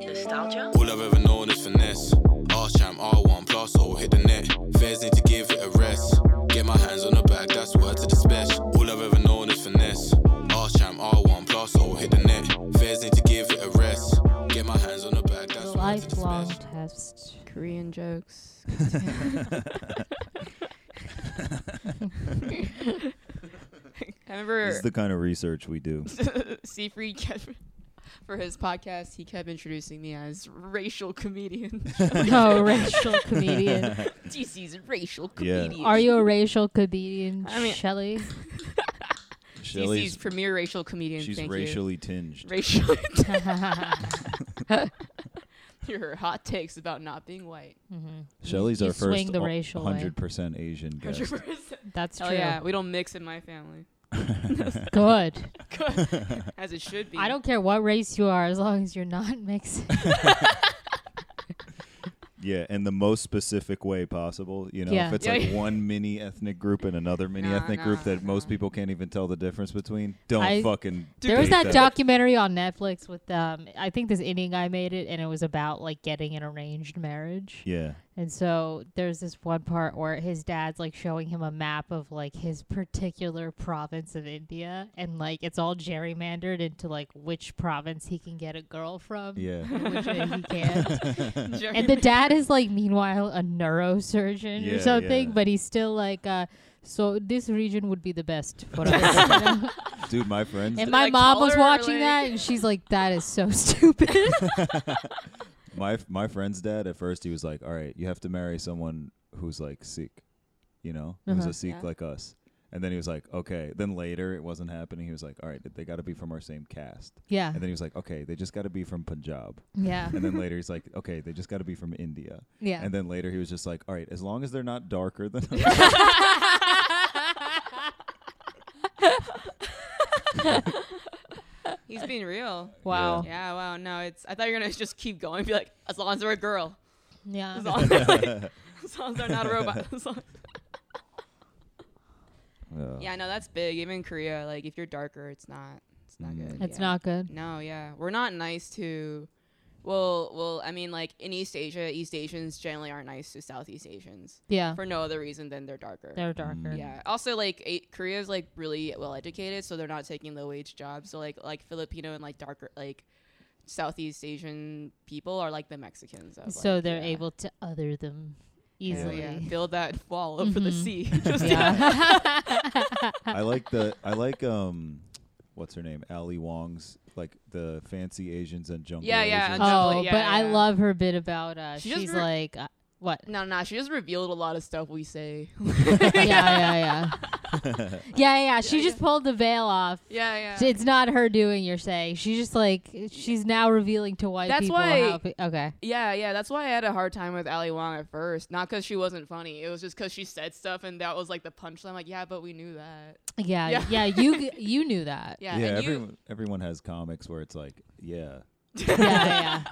Nostalgia? All I've ever known is finesse. R champ, R1 plus, or hit the net. Fairs need to give it a rest. Get my hands on the bag, that's word to the special. All I've ever known is finesse. R champ, R1 plus, or hit the net. Fairs need to give it a rest. Get my hands on the bag, that's word to the Lifelong special. test. Korean jokes. I This is remember the kind of research we do. Seafried kept, for his podcast, he kept introducing me as racial comedian. no racial comedian. DC's racial Yeah. comedian. Are you a racial comedian, I mean- Shelly? DC's Shelly's premier racial comedian? she's thank racially You. tinged. Racial. Mhm. Your hot takes about not being white. Shelly's You our swing first the o- racial way. 100% Asian guest. 100%. That's Hell true. yeah, we don't mix in my family. Good. As it should be. I don't care what race you are as long as you're not mixing. Yeah, in the most specific way possible. You know, Yeah. if it's Yeah, like yeah. one mini ethnic group and another mini Nah, ethnic nah, group that most nah. people can't even tell the difference between, don't I- fucking. there was date that documentary on Netflix with um I think this Indian guy made it and it was about like getting an arranged marriage. Yeah. And so there's this one part where his dad's like showing him a map of like his particular province of India and like it's all gerrymandered into like which province he can get a girl from. Yeah. and Which uh, he can't. Jerry- and the dad is like meanwhile a neurosurgeon Yeah, or something, yeah. but he's still like uh so this region would be the best for us. you know? Dude, my friends, And it, my like, mom was taller or, watching like- that, and she's like, "That is so stupid." my my friend's dad at first he was like, "All right, you have to marry someone who's like Sikh, you know, who's Uh-huh. a Sikh Yeah. like us." And then he was like, "Okay." Then later it wasn't happening. He was like, "All right, they got to be from our same caste." yeah, And then he was like, "Okay, they just got to be from Punjab." yeah, And then later he's like, "Okay, they just got to be from India." yeah. And then later he was just like, "All right, as long as they're not darker than us." He's being real. wow. Yeah. Yeah, wow. No, it's. I thought you were gonna just keep going. Be like, as long as they're a girl, as long as, as long as they're not a robot. As long- Oh. yeah, no, that's big. Even in Korea, like if you're darker, it's not. It's not Mm. good. It's yeah. not good. No, yeah, we're not nice to. Well, well, I mean, like in East Asia, East Asians generally aren't nice to Southeast Asians Yeah, for no other reason than they're darker. they're Mm. darker. Yeah. Also, like a- Korea's like really well educated, so they're not taking low wage jobs. So like like Filipino and like darker like Southeast Asian people are like the Mexicans. Of, So like, they're yeah. able to other them So, easily. yeah, build that wall over the Mhm. sea. Just I like the I like um what's her name? Ali Wong's like the fancy Asians and jungle Yeah, yeah, Asians. and jump- Oh, yeah, but I yeah. love her bit about uh, She just she's re- like, uh, what? no, no, she just revealed a lot of stuff we say. yeah, yeah, yeah. yeah, yeah. She just pulled the veil off. yeah, yeah. It's not her doing. You're saying she's just like she's now revealing to white That's people. why- how pe- okay. yeah, yeah, that's why I had a hard time with Ali Wong at first. Not because she wasn't funny. It was just because she said stuff and that was like the punchline. like, yeah, but we knew that. Yeah, yeah. Yeah. you you knew that. Yeah, yeah, and you- everyone everyone has comics where it's like, yeah. yeah, yeah.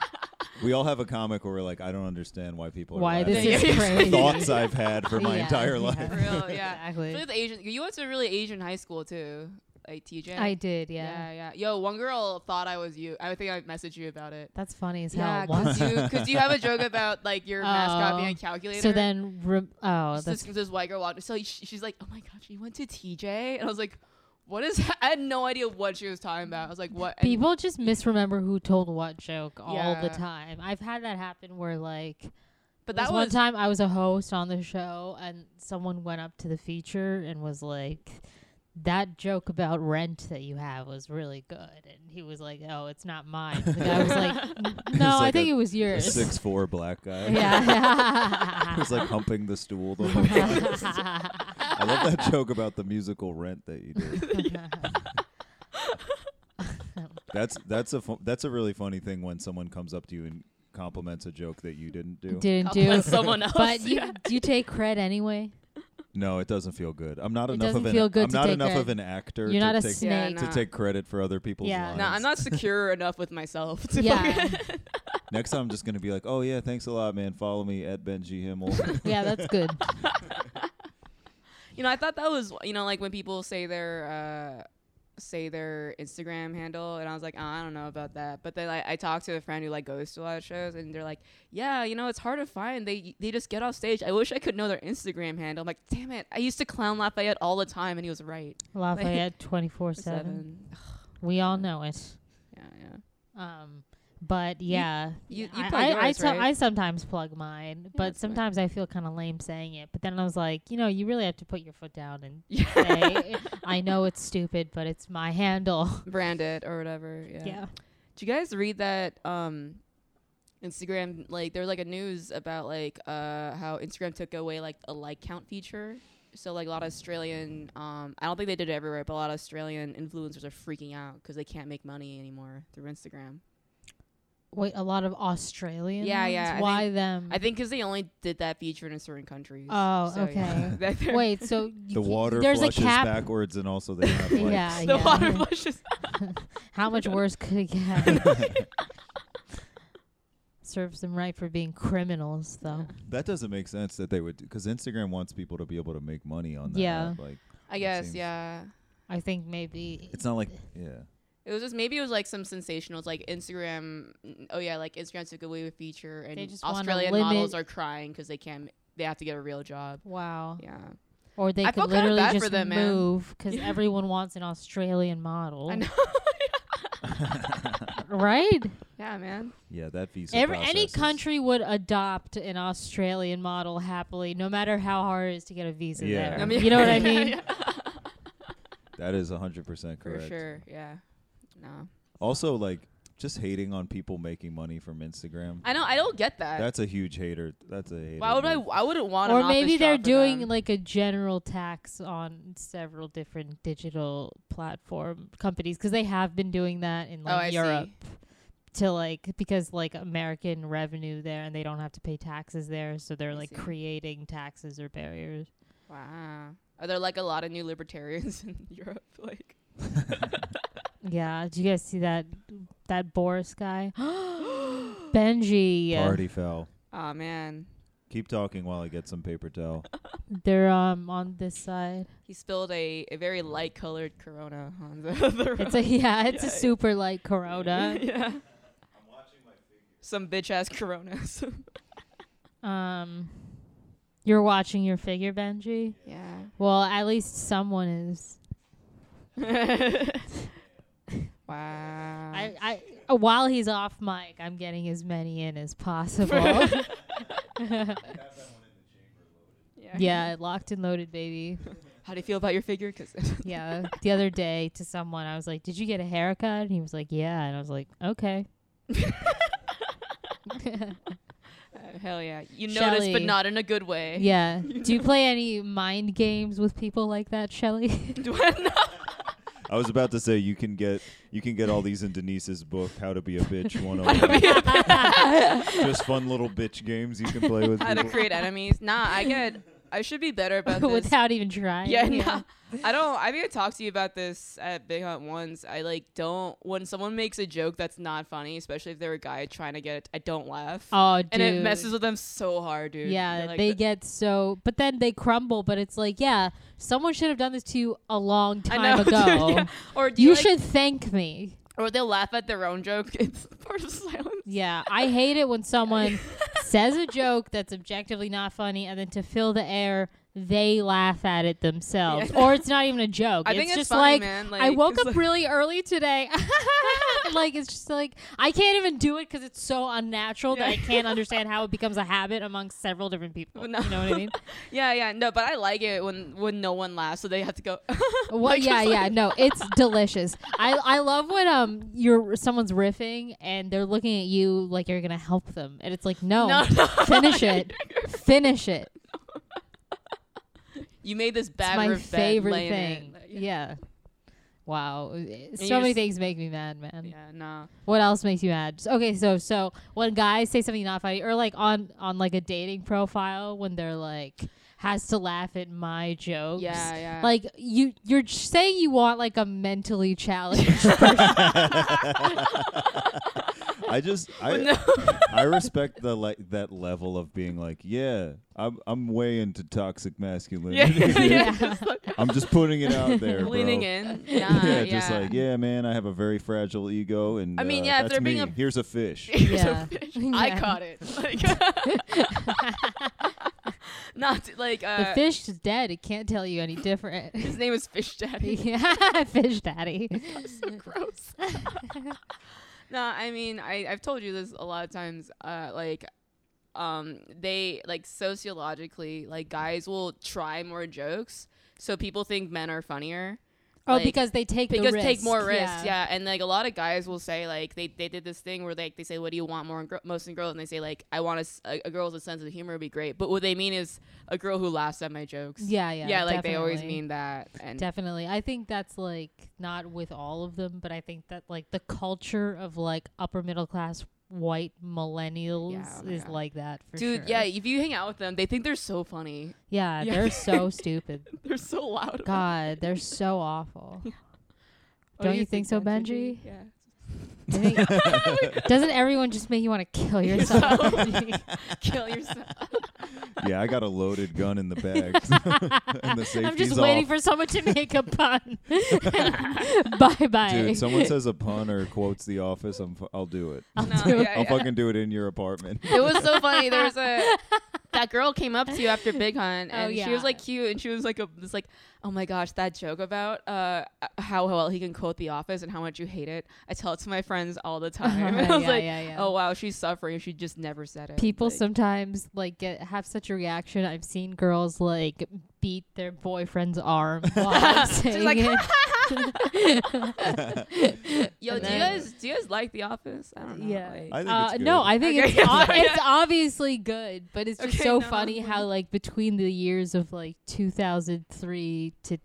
We all have a comic where we're like, I don't understand why people are Why this laughing is at crazy. thoughts I've had for my Yeah, entire yeah. life. real, oh, yeah. Exactly. Especially with Asian, you went to a really Asian high school too, like TJ. I did, yeah. yeah, yeah. Yo, one girl thought I was you. I think I messaged you about it. That's funny as hell. Yeah, because What? you, 'cause you have a joke about like your Oh. mascot being a calculator. So then, re- oh, Just this, that's this white girl walked. So she, she's like, "Oh my god, she went to TJ," and I was like, "What is?" That? I had no idea what she was talking about. I was like, "What?" and- people just misremember who told what joke all the Yeah. time. I've had that happen where like, but this that one was time I was a host on the show and someone went up to the feature and was like, "That joke about rent that you have was really good," and he was like, "Oh, it's not mine." The guy was like, "N- It's "No, I like think a- it was A yours." six four black guy. yeah. Who's like humping the stool the whole time. I love that joke about the musical rent that you did. That's that's a fu- that's a really funny thing when someone comes up to you and compliments a joke that you didn't do. Didn't I'll do. let someone else. But you, yeah. do you take cred anyway? No, it doesn't feel good. I'm not It enough doesn't of an feel good I'm to not take enough credit. of an actor You're not to a take Yeah, snake. no. to take credit for other people's Yeah. lines. no, I'm not secure enough with myself. To Yeah. Next time I'm just gonna be like, oh yeah, thanks a lot, man. Follow me at Benji Himmel. yeah, that's good. You know, I thought that was you know like when people say they're uh say their Instagram handle, and I was like, oh, I don't know about that. But then like, I talked to a friend who like goes to a lot of shows, and they're like, Yeah, you know, it's hard to find. They they just get off stage. I wish I could know their Instagram handle. I'm like, Damn it! I used to clown Lafayette all the time, and he was right. Lafayette twenty four seven. Seven. We all know it. Yeah, yeah. Um, but yeah, you- I- you plug I, I, yours, so- right? I sometimes plug mine, but that's fine. sometimes I feel kind of lame saying it. But then I was like, you know, you really have to put your foot down and Yeah. say, I know it's stupid, but it's my handle. Brand it or whatever. Yeah. Yeah. Do you guys read that um Instagram like there was like a news about like uh how Instagram took away like a like count feature. So like a lot of Australian um I don't think they did it everywhere, but a lot of Australian influencers are freaking out cuz they can't make money anymore through Instagram. Wait, a lot of Australians. Yeah, yeah, I Why them? I think cuz they only did that feature in certain countries. Oh, So, yeah. okay. That they're- Wait, so you The can't- water there's a flushes cap. backwards, and also they have like Yeah. the water flushes. How much worse could it get? Serves them right for being criminals, though. that doesn't make sense that they would because Instagram wants people to be able to make money on that. Yeah. app, Like I It guess, seems- yeah. I think maybe it's not like yeah. It was just maybe it was like some sensational. It's like Instagram. Oh yeah, like Instagram took away a feature, and They just wanna Australian limit- models are crying because they can't. They have to get a real job. wow. Yeah, Or they I feel could kinda literally bad for just them, man. move because Yeah. everyone wants an Australian model, I know. right? yeah, man. Yeah, that visa. Every any process is- country would adopt an Australian model happily, no matter how hard it is to get a visa Yeah. there. I you know what I yeah, mean? yeah. that is hundred percent For correct. sure. Yeah. No, Also, like just hating on people making money from Instagram. I know. I don't get that. That's a huge hater. That's a hater. Why would I? move. I wouldn't want. Or an maybe office they're job for doing them. like a general tax on several different digital platform companies because they have been doing that in Oh, I like see. Europe to like because like American revenue there and they don't have to pay taxes there, so they're I like see. creating taxes or barriers. Wow. Are there like a lot of new libertarians in Europe? Like, Yeah, did you guys see that that Boris guy? Benji. Party foul. oh man, Keep talking while I get some paper towel. They're um on this side. he spilled a, a very light colored Corona on the, the road. It's a yeah, it's a Yeah. super light corona. yeah. I'm watching my figure. Some bitch ass coronas. um you're watching your figure, Benji? yeah. Well, at least someone is. wow. I, I uh, while he's off mic, I'm getting as many in as possible. yeah, locked and loaded, baby. How do you feel about your figure? Cause uh, Yeah. The other day to someone, I was like, "Did you get a haircut?" And he was like, "Yeah." And I was like, "Okay." Uh, hell yeah, you notice, but Shelley. not in a good way. Yeah. Do you play any mind games with people like that, Shelly? Do I know? I was about to say you can get you can get all these in Denise's book, How to Be a Bitch I 101. mean, Just fun little bitch games you can play with. How to people. create enemies? Nah, I get. I should be better about this. Without even trying. yeah, nah. I don't. I think I talked to you about this at Big Hunt once. I like don't when someone makes a joke that's not funny, especially if they're a guy trying to get it. I don't laugh. Oh, dude. and it messes with them so hard, dude. Yeah, They're like, they "Th- get so, but then they crumble. But it's like, yeah, someone should have done this to you a long I time know, dude, ago. yeah. Or do You you, like- should thank me. or they'll laugh at their own joke. It's part of silence. Yeah, I hate it when someone says a joke that's objectively not funny, and then to fill the air, they laugh at it themselves, Yeah. or it's not even a joke. I think it's just funny, like, man. I Like, woke it's up like- really early today. like it's just like I can't even do it because it's so unnatural that I Yeah. can't understand how it becomes a habit among several different people. No. You know what I mean? Yeah, yeah, no, but I like it when when no one laughs, so they have to go. Well, Like, yeah, it's yeah, like- no, it's delicious. I I love when um you're someone's riffing and they're looking at you like you're gonna help them, and it's like no, No, no. finish it, finish it. You made this It's bad my riff bed, favorite lay in it. thing. Like, Yeah. Wow, Eh, you're so many s- things make me mad, man. Yeah, nah. What else makes you mad? S- Okay, so so when guys say something not funny, or like on on like a dating profile when they're like has to laugh at my jokes. Yeah, yeah. Like you, you're j- saying you want like a mentally challenged person. I just I No. I respect the like that level of being like, yeah, I'm I'm way into toxic yeah, masculinity. yeah, Yeah. just like I'm just putting it out there, bro. leaning in. Yeah, Yeah, just like yeah, man. I have a very fragile ego, and I mean, uh, yeah, if that's they're me. being a- Here's a fish. Yeah. I Yeah. caught it. Like, not to- like the uh, fish is dead. It can't tell you any different. his name is Fish Daddy. yeah, fish daddy. so gross. no, I mean, I, I've told you this a lot of times. Uh, like, um, they like sociologically, like guys will try more jokes, so people think men are funnier. Oh, Like, because they take because the risk. take more risks. Yeah. and like a lot of guys will say like they, they did this thing where like they say what do you want more in gr- most in girls and they say like I want a s- a, a girl with a sense of humor would be great, but what they mean is a girl who laughs at my jokes. yeah, yeah. yeah, like they always definitely. mean that. And Definitely. I think that's like not with all of them, but I think that like the culture of like upper middle class white millennials Yeah, oh my is God. like that for dude, sure. yeah, if you hang out with them, they think they're so funny. Yeah, Yeah. they're so stupid. They're so loud. God, they're so awful. Oh, Don't you think so, Benji? Yeah. I think- Doesn't everyone just make you want to kill yourself? Kill yourself. yeah, I got a loaded gun in the bag, and the safety's I'm just off. waiting for someone to make a pun. bye bye. Dude, someone says a pun or quotes The Office, I'm f- I'll do it. I'll No, do it. yeah, I'll yeah. fucking do it in your apartment. It was so funny. There was a that girl came up to you after Big Hunt, Oh, and she was yeah. like cute, and she was like a was like, oh my gosh, that joke about uh how well he can quote The Office and how much you hate it. I tell it to my friends all the time. And I was Uh-huh. Yeah, like, yeah, yeah. oh wow, she's suffering. She just never said it. people Like, sometimes like get have such a reaction. I've seen girls like beat their boyfriend's arm while She's saying like, it. yo, do you then- guys do you guys like The Office? I don't know. Yeah. like- I think Uh, it's no, good. I think Okay, it's, ob- sorry. it's obviously good, but it's just Okay, so no, funny I'm how like between the years of like 2003 to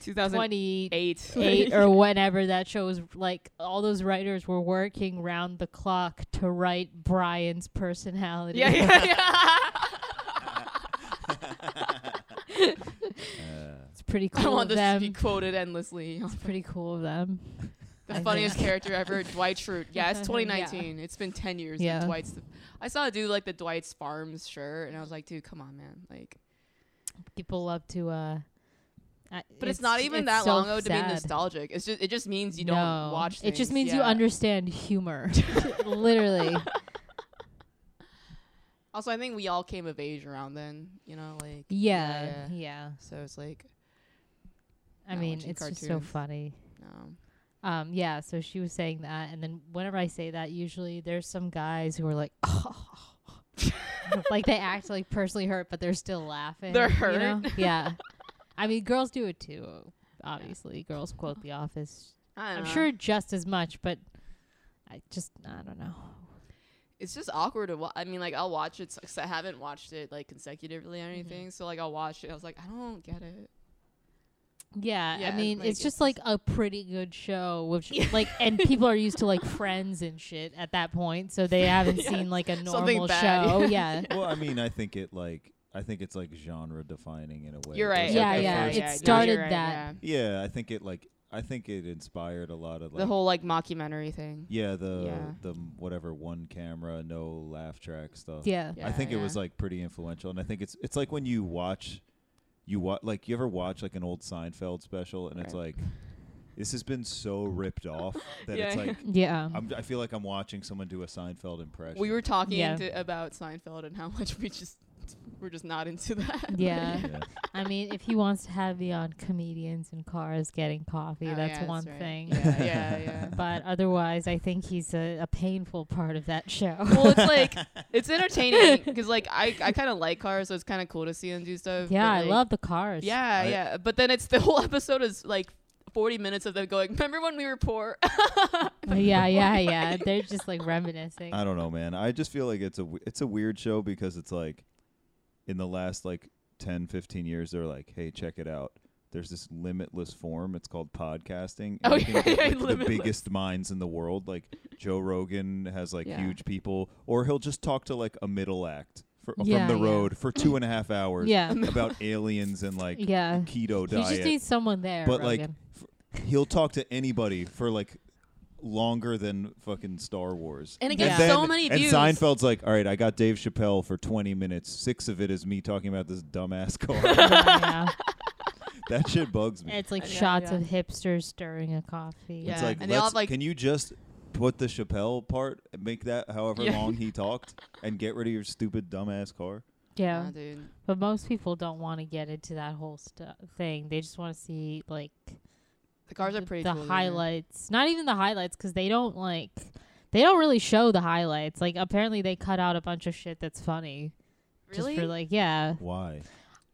2008. 28 like- or whenever that show was like all those writers were working round the clock to write Brian's personality. yeah, yeah, yeah. Uh, It's pretty I cool want of this them. to be quoted endlessly. It's pretty cool of them. I The think- funniest character ever, Dwight Schrute. Yeah, it's Yeah. 2019. It's been 10 years. Yeah. Yeah. Dwight's. The, I saw a dude like the Dwight's Farms shirt, and I was like, dude, come on, man. Like, People love to uh I- but it's, not even it's that so long ago to be sad. nostalgic. It's just it just means you No. don't watch. It just things. means you Yeah. understand humor. Literally. Also, I think we all came of age around then. You know, like Yeah. Yeah. So it's like I Not mean, watching it's just so cartoons. funny. no. Um, yeah, so she was saying that, and then whenever I say that, usually there's some guys who are like, like they act like personally hurt, but they're still laughing. They're you know? hurt. Yeah, I mean, girls do it too. Obviously, girls quote The Office. I I'm don't know. sure just as much, but I just I don't know. it's just awkward to wa- I mean, like I'll watch it because I haven't watched it like consecutively Mm-hmm. or anything. So like I'll watch it. I was like, I don't get it. Yeah, I Yeah, mean, like, it's just it's- like a pretty good show, which like, and people are used to like Friends and shit at that point, so they haven't Yeah. seen like a Something normal bad, show. yeah. Yeah. well, I mean, I think it like I think it's like genre defining in a way. You're right. Just, Yeah, like, the yeah, first- it you're started right, that. Yeah, I think it like I think it inspired a lot of like the whole like mockumentary thing. yeah the Yeah. the m- whatever one camera no laugh track stuff. Yeah. I Yeah, think it was yeah. like pretty influential, and I think it's it's like when you watch, you watch like you ever watch like an old Seinfeld special, and it's Right. like, this has been so ripped off that it's Yeah. like Yeah. I'm, I feel like I'm watching someone do a Seinfeld impression. We were talking Yeah. to, about Seinfeld and how much we just we're just not into that. Yeah. Yeah. I mean, if he wants to have me on comedians and cars getting coffee, Oh, that's yeah, one right. thing. Yeah, yeah, yeah. But otherwise, I think he's a, a painful part of that show. well, it's like it's entertaining because like I I kind of like cars, so it's kind of cool to see them do stuff. yeah, but, I like, love the cars. Yeah, I- yeah, but then it's the whole episode is like. 40 minutes of them going, Remember when we were poor? Uh, yeah, yeah, yeah. They're just like reminiscing. I don't know, man. I just feel like it's a w- it's a weird show because it's like, in the last like 10, 15 years, they're like, hey, check it out. There's this limitless form. It's called podcasting. and Oh, you can yeah, get, yeah, like, the limitless. biggest minds in the world. Like Joe Rogan has like Yeah. huge people, or he'll just talk to like a middle act for, Yeah, from the yeah. road for two and a half hours Yeah. about aliens and like Yeah. keto You diet. just need someone there. but like, Rogan. f- he'll talk to anybody for like longer than fucking Star Wars. And it gets then- so many and views. Seinfeld's like, all right, I got Dave Chappelle for 20 minutes. Six of it is me talking about this dumbass car. yeah. that shit bugs me. It's like Yeah, shots yeah. of hipsters stirring a coffee. Yeah. It's like, and they all have, let's- like- can you just put the Chappelle part, make that however Yeah. long he talked, and get rid of your stupid dumbass car? Yeah. Nah, dude. But most people don't want to get into that whole stu thing. They just want to see like The cars are th- pretty the cool, dude. highlights. Not even the highlights cuz they don't like they don't really show the highlights. Like apparently they cut out a bunch of shit that's funny Really? just for like yeah. Why?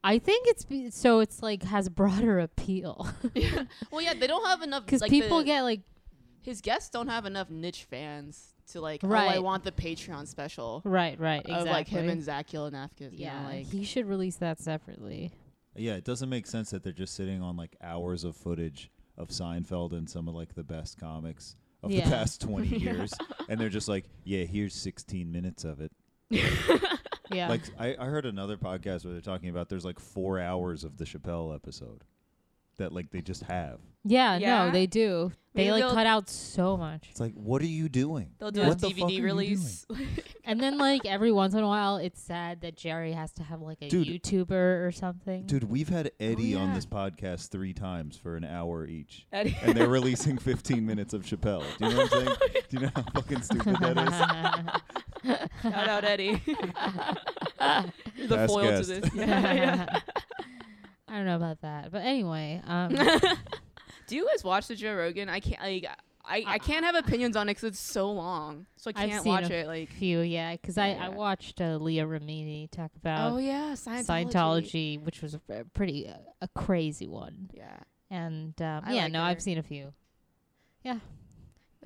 I think it's be- so it's like has broader appeal well, yeah, they don't have enough cuz like, people the- get like his guests don't have enough niche fans to like. Oh, I Right. want the Patreon special right right exactly. of like him and Zach Galifianakis. you know, yeah, like he should release that separately. Yeah, it doesn't make sense that they're just sitting on like hours of footage of Seinfeld and some of like the best comics of Yeah. the past 20 years. And they're just like, yeah, here's 16 minutes of it. Yeah. Like, I, I heard another podcast where they're talking about there's like four hours of the Chappelle episode that like they just have. yeah, Yeah. no, they do. Maybe They like they'll- cut out so much. It's like, what are you doing? they'll do What a the fuck are you DVD release. And then like every once in a while, it's sad that Jerry has to have like a Dude. YouTuber or something. Dude, we've Oh, had Eddie on yeah. this podcast three times for an hour each. Eddie- And they're releasing 15 minutes of Chappelle. Do you know what I'm saying? Do you know how fucking stupid that is? Shout out Eddie. You're the Past foil guest. to this. Yeah, yeah. I don't know about that, but anyway, um, Do you guys watch the Joe Rogan? I can't like I, I can't have opinions on it 'cause it's so long, so I Uh, I've can't seen watch a it. Like few, yeah, because I, Yeah. I watched uh, Leah Ramini talk about oh yeah, Scientology. Scientology. which was a a pretty uh, a crazy one, Yeah, and um, I yeah, like no, her. I've seen a few. Yeah,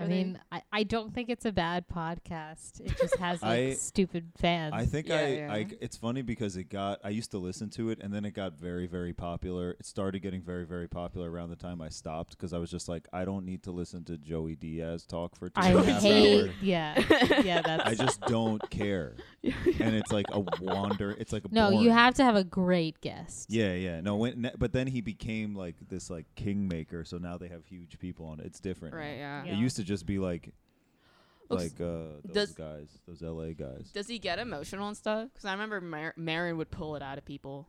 I Are they- mean, I, I don't think it's a bad podcast. It just has like I- stupid fans. I think Yeah, I, yeah. I it's funny because it got I used to listen to it and then it got very very popular. It started getting very very popular around the time I stopped because I was just like I don't need to listen to Joey Diaz talk for two I and a half hate. hours. Yeah, yeah. That's I just don't care. And it's like a wander. It's like a no. You boring- have to have a great guest. Yeah, yeah. No, when, ne- but then he became like this like kingmaker. So now they have huge people on it. It's different. now. right. Yeah. Yeah. It used to just be like Looks- like uh those does- guys, those LA guys. Does he get emotional and stuff? 'Cause I remember Mar- Marin would pull it out of people.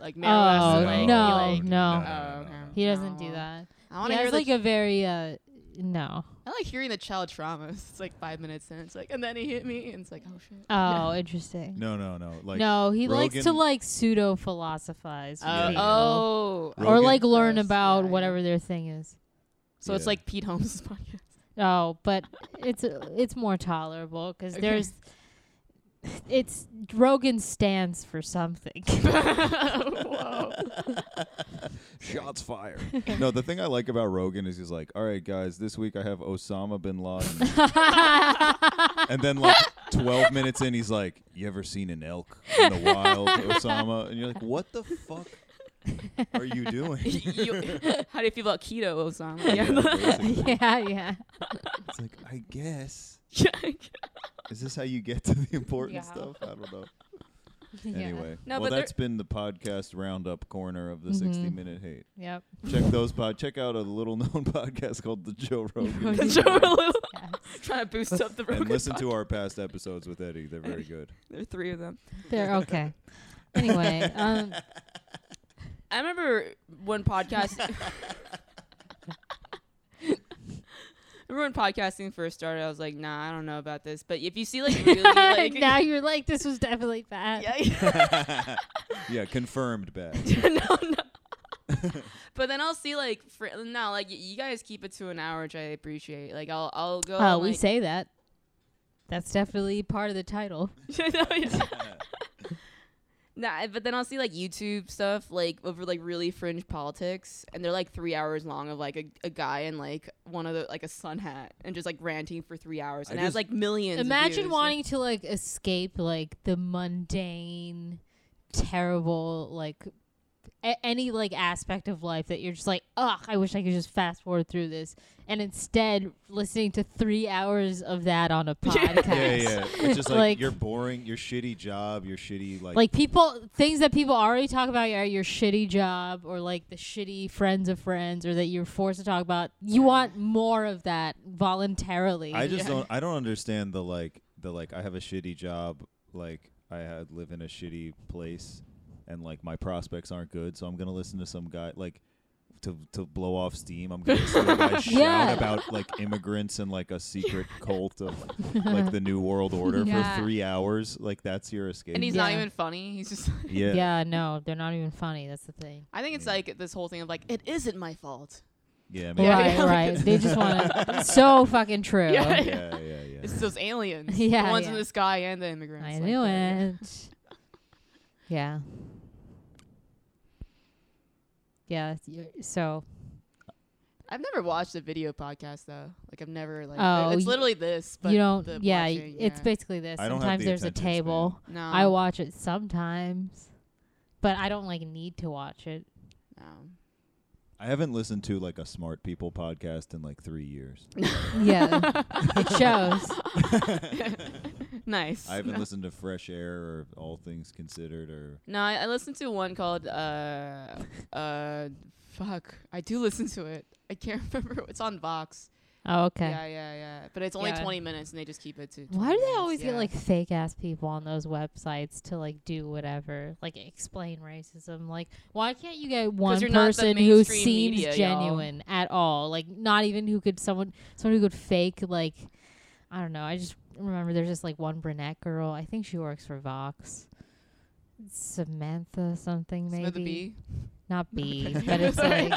Like Marin Oh, would like, be no, like, no. Oh, okay. He doesn't do No. that. I He want to hear has the like a very uh no. I like hearing the child traumas. It's like five minutes in. It's like, and then he hit me, and it's like, oh shit. Oh, interesting. No, no, no. Like no, he likes to Rogan- like pseudo philosophize. Uh, Yeah. oh. Rogan- or like learn Yes, about yeah, yeah. whatever their thing is. So it's Yeah. like Pete Holmes' podcast. Oh, but it's it's more tolerable because Okay. there's it's Rogan stands for something. Whoa. Shots fired. no, the thing I like about Rogan is he's like, all right, guys, this week I have Osama bin Laden. and then, like, 12 minutes in, he's like, you ever seen an elk in the wild, Osama? And you're like, what the fuck are you doing? You- how do you feel about keto, Osama? Yeah, basically. yeah, yeah. It's like, I guess. Yeah. Is this how you get to the important Yeah. stuff? I don't know. Yeah. Anyway, No, well, but there- that's been the podcast roundup corner of the 60 minute hate. Yep. Check those pod. Check out a little known podcast called The Joe Rogan. Rogan. Joe Rogan. Yes. Trying to boost up the Rogan. and listen to our past episodes with Eddie. They're very good. There are three of them. They're okay. Anyway, um, I remember when podcast. remember when podcasting first started? I was like, nah, I don't know about this. But if you see like really like now you're like, this was definitely bad. yeah, yeah. yeah, confirmed bad. no, no. but then I'll see like fr- no, like y- you guys keep it to an hour, which I appreciate. Like I'll I'll go. Oh, on, we like- say that. That's definitely part of the title. No, yeah. Nah, but then I'll see like YouTube stuff like over like really fringe politics, and they're like three hours long of like a, a guy in like one of the like a sun hat and just like ranting for three hours, I and it has just- like millions. of Imagine views. wanting to like escape like the mundane, terrible like a- any like aspect of life that you're just like, ugh, I wish I could just fast forward through this, and instead listening to three hours of that on a podcast. Yeah, yeah. It's just like, Like- your boring, your shitty job, your shitty like. Like people, things that people already talk about are your shitty job or like the shitty friends of friends or that you're forced to talk about. You want more of that voluntarily. I just Yeah. don't. I don't understand the like the like. I have a shitty job. Like I had, live in a shitty place, and like my prospects aren't good. So I'm gonna listen to some guy like. To, to blow off steam, I'm gonna listen to a guy shout Yeah. about like immigrants and like a secret cult of like the New World Order Yeah. for three hours. Like that's your escape. and he's not Yeah. even funny. He's just. Like, yeah. yeah, no, they're not even funny. That's the thing. I think it's like this whole thing of like it isn't my fault. yeah, man. Yeah. right, like- right. They just want to. so fucking true. Yeah. yeah, yeah, yeah. It's those aliens, Yeah, the ones in yeah. the sky and the immigrants. I like, knew they're- it. yeah. Yeah. it's- you're- So I've never watched a video podcast though. Like I've never like. Oh, it's you- literally this, but you don't. the Yeah. y- watching, It's yeah. basically this. I don't have Sometimes the there's a attention span. table. no. I watch it sometimes, but I don't like need to watch it. no. I haven't listened to like a smart people podcast in like three years. Yeah, it shows. Nice. I haven't listened to Fresh Air or All Things Considered or No, I, I listened to one called uh uh fuck. I do listen to it. I can't remember. It's on Vox. Oh, okay. Yeah, yeah, yeah. But it's only Yeah. 20 minutes and they just keep it to 20 Why do they minutes, always yeah. get like fake ass people on those websites to like do whatever, like explain racism? Like, why can't you get one you're not the person who mainstream seems media, y'all. genuine at all? Like, not even who could someone someone who could fake like, I don't know. I just remember there's this like one brunette girl. I think she works for Vox. Samantha something maybe Samantha Bee? not B, but it's like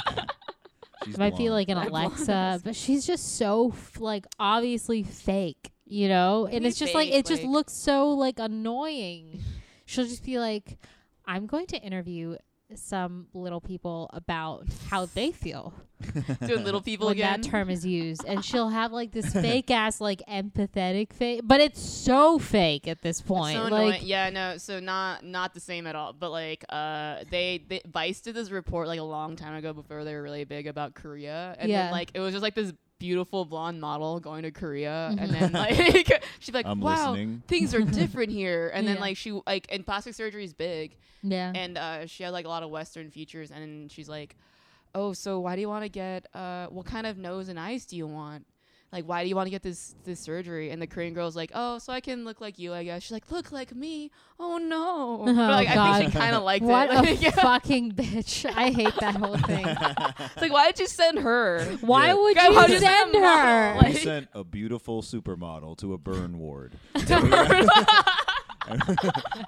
she's It might be blonde. like an I'm blonde. Alexa, but she's just so f- like obviously fake, you know. do you And it's mean just like fake? it just Like- looks so like annoying. She'll just be like, "I'm going to interview some little people about how they feel Doing little people when again. that term is used," and she'll have like this fake ass like empathetic face, but it's so fake at this It's point. so annoying. like, yeah, no, so not not the same at all. But like, uh, they, they Vice did this report like a long time ago before they were really big about Korea, and Yeah. then like it was just like this beautiful blonde model going to Korea, and then Mm-hmm. like she'd be like, I'm wow, listening. things are different here, and then Yeah. like she like and plastic surgery is big, yeah, and uh, she had like a lot of Western features, and she's like, "Oh, so why do you want to get? Uh, what kind of nose and eyes do you want? Like, why do you want to get this this surgery?" And the Korean girl's like, "Oh, so I can look like you, I guess." She's like, "Look like me? Oh no!" but, like, I think she Oh, God. kind of liked what it. a Like, yeah. fucking bitch! I hate that whole thing. It's like, why did you send her? Why Yeah. would God, why would you you send send a model? her? Like- we sent a beautiful supermodel to a burn ward.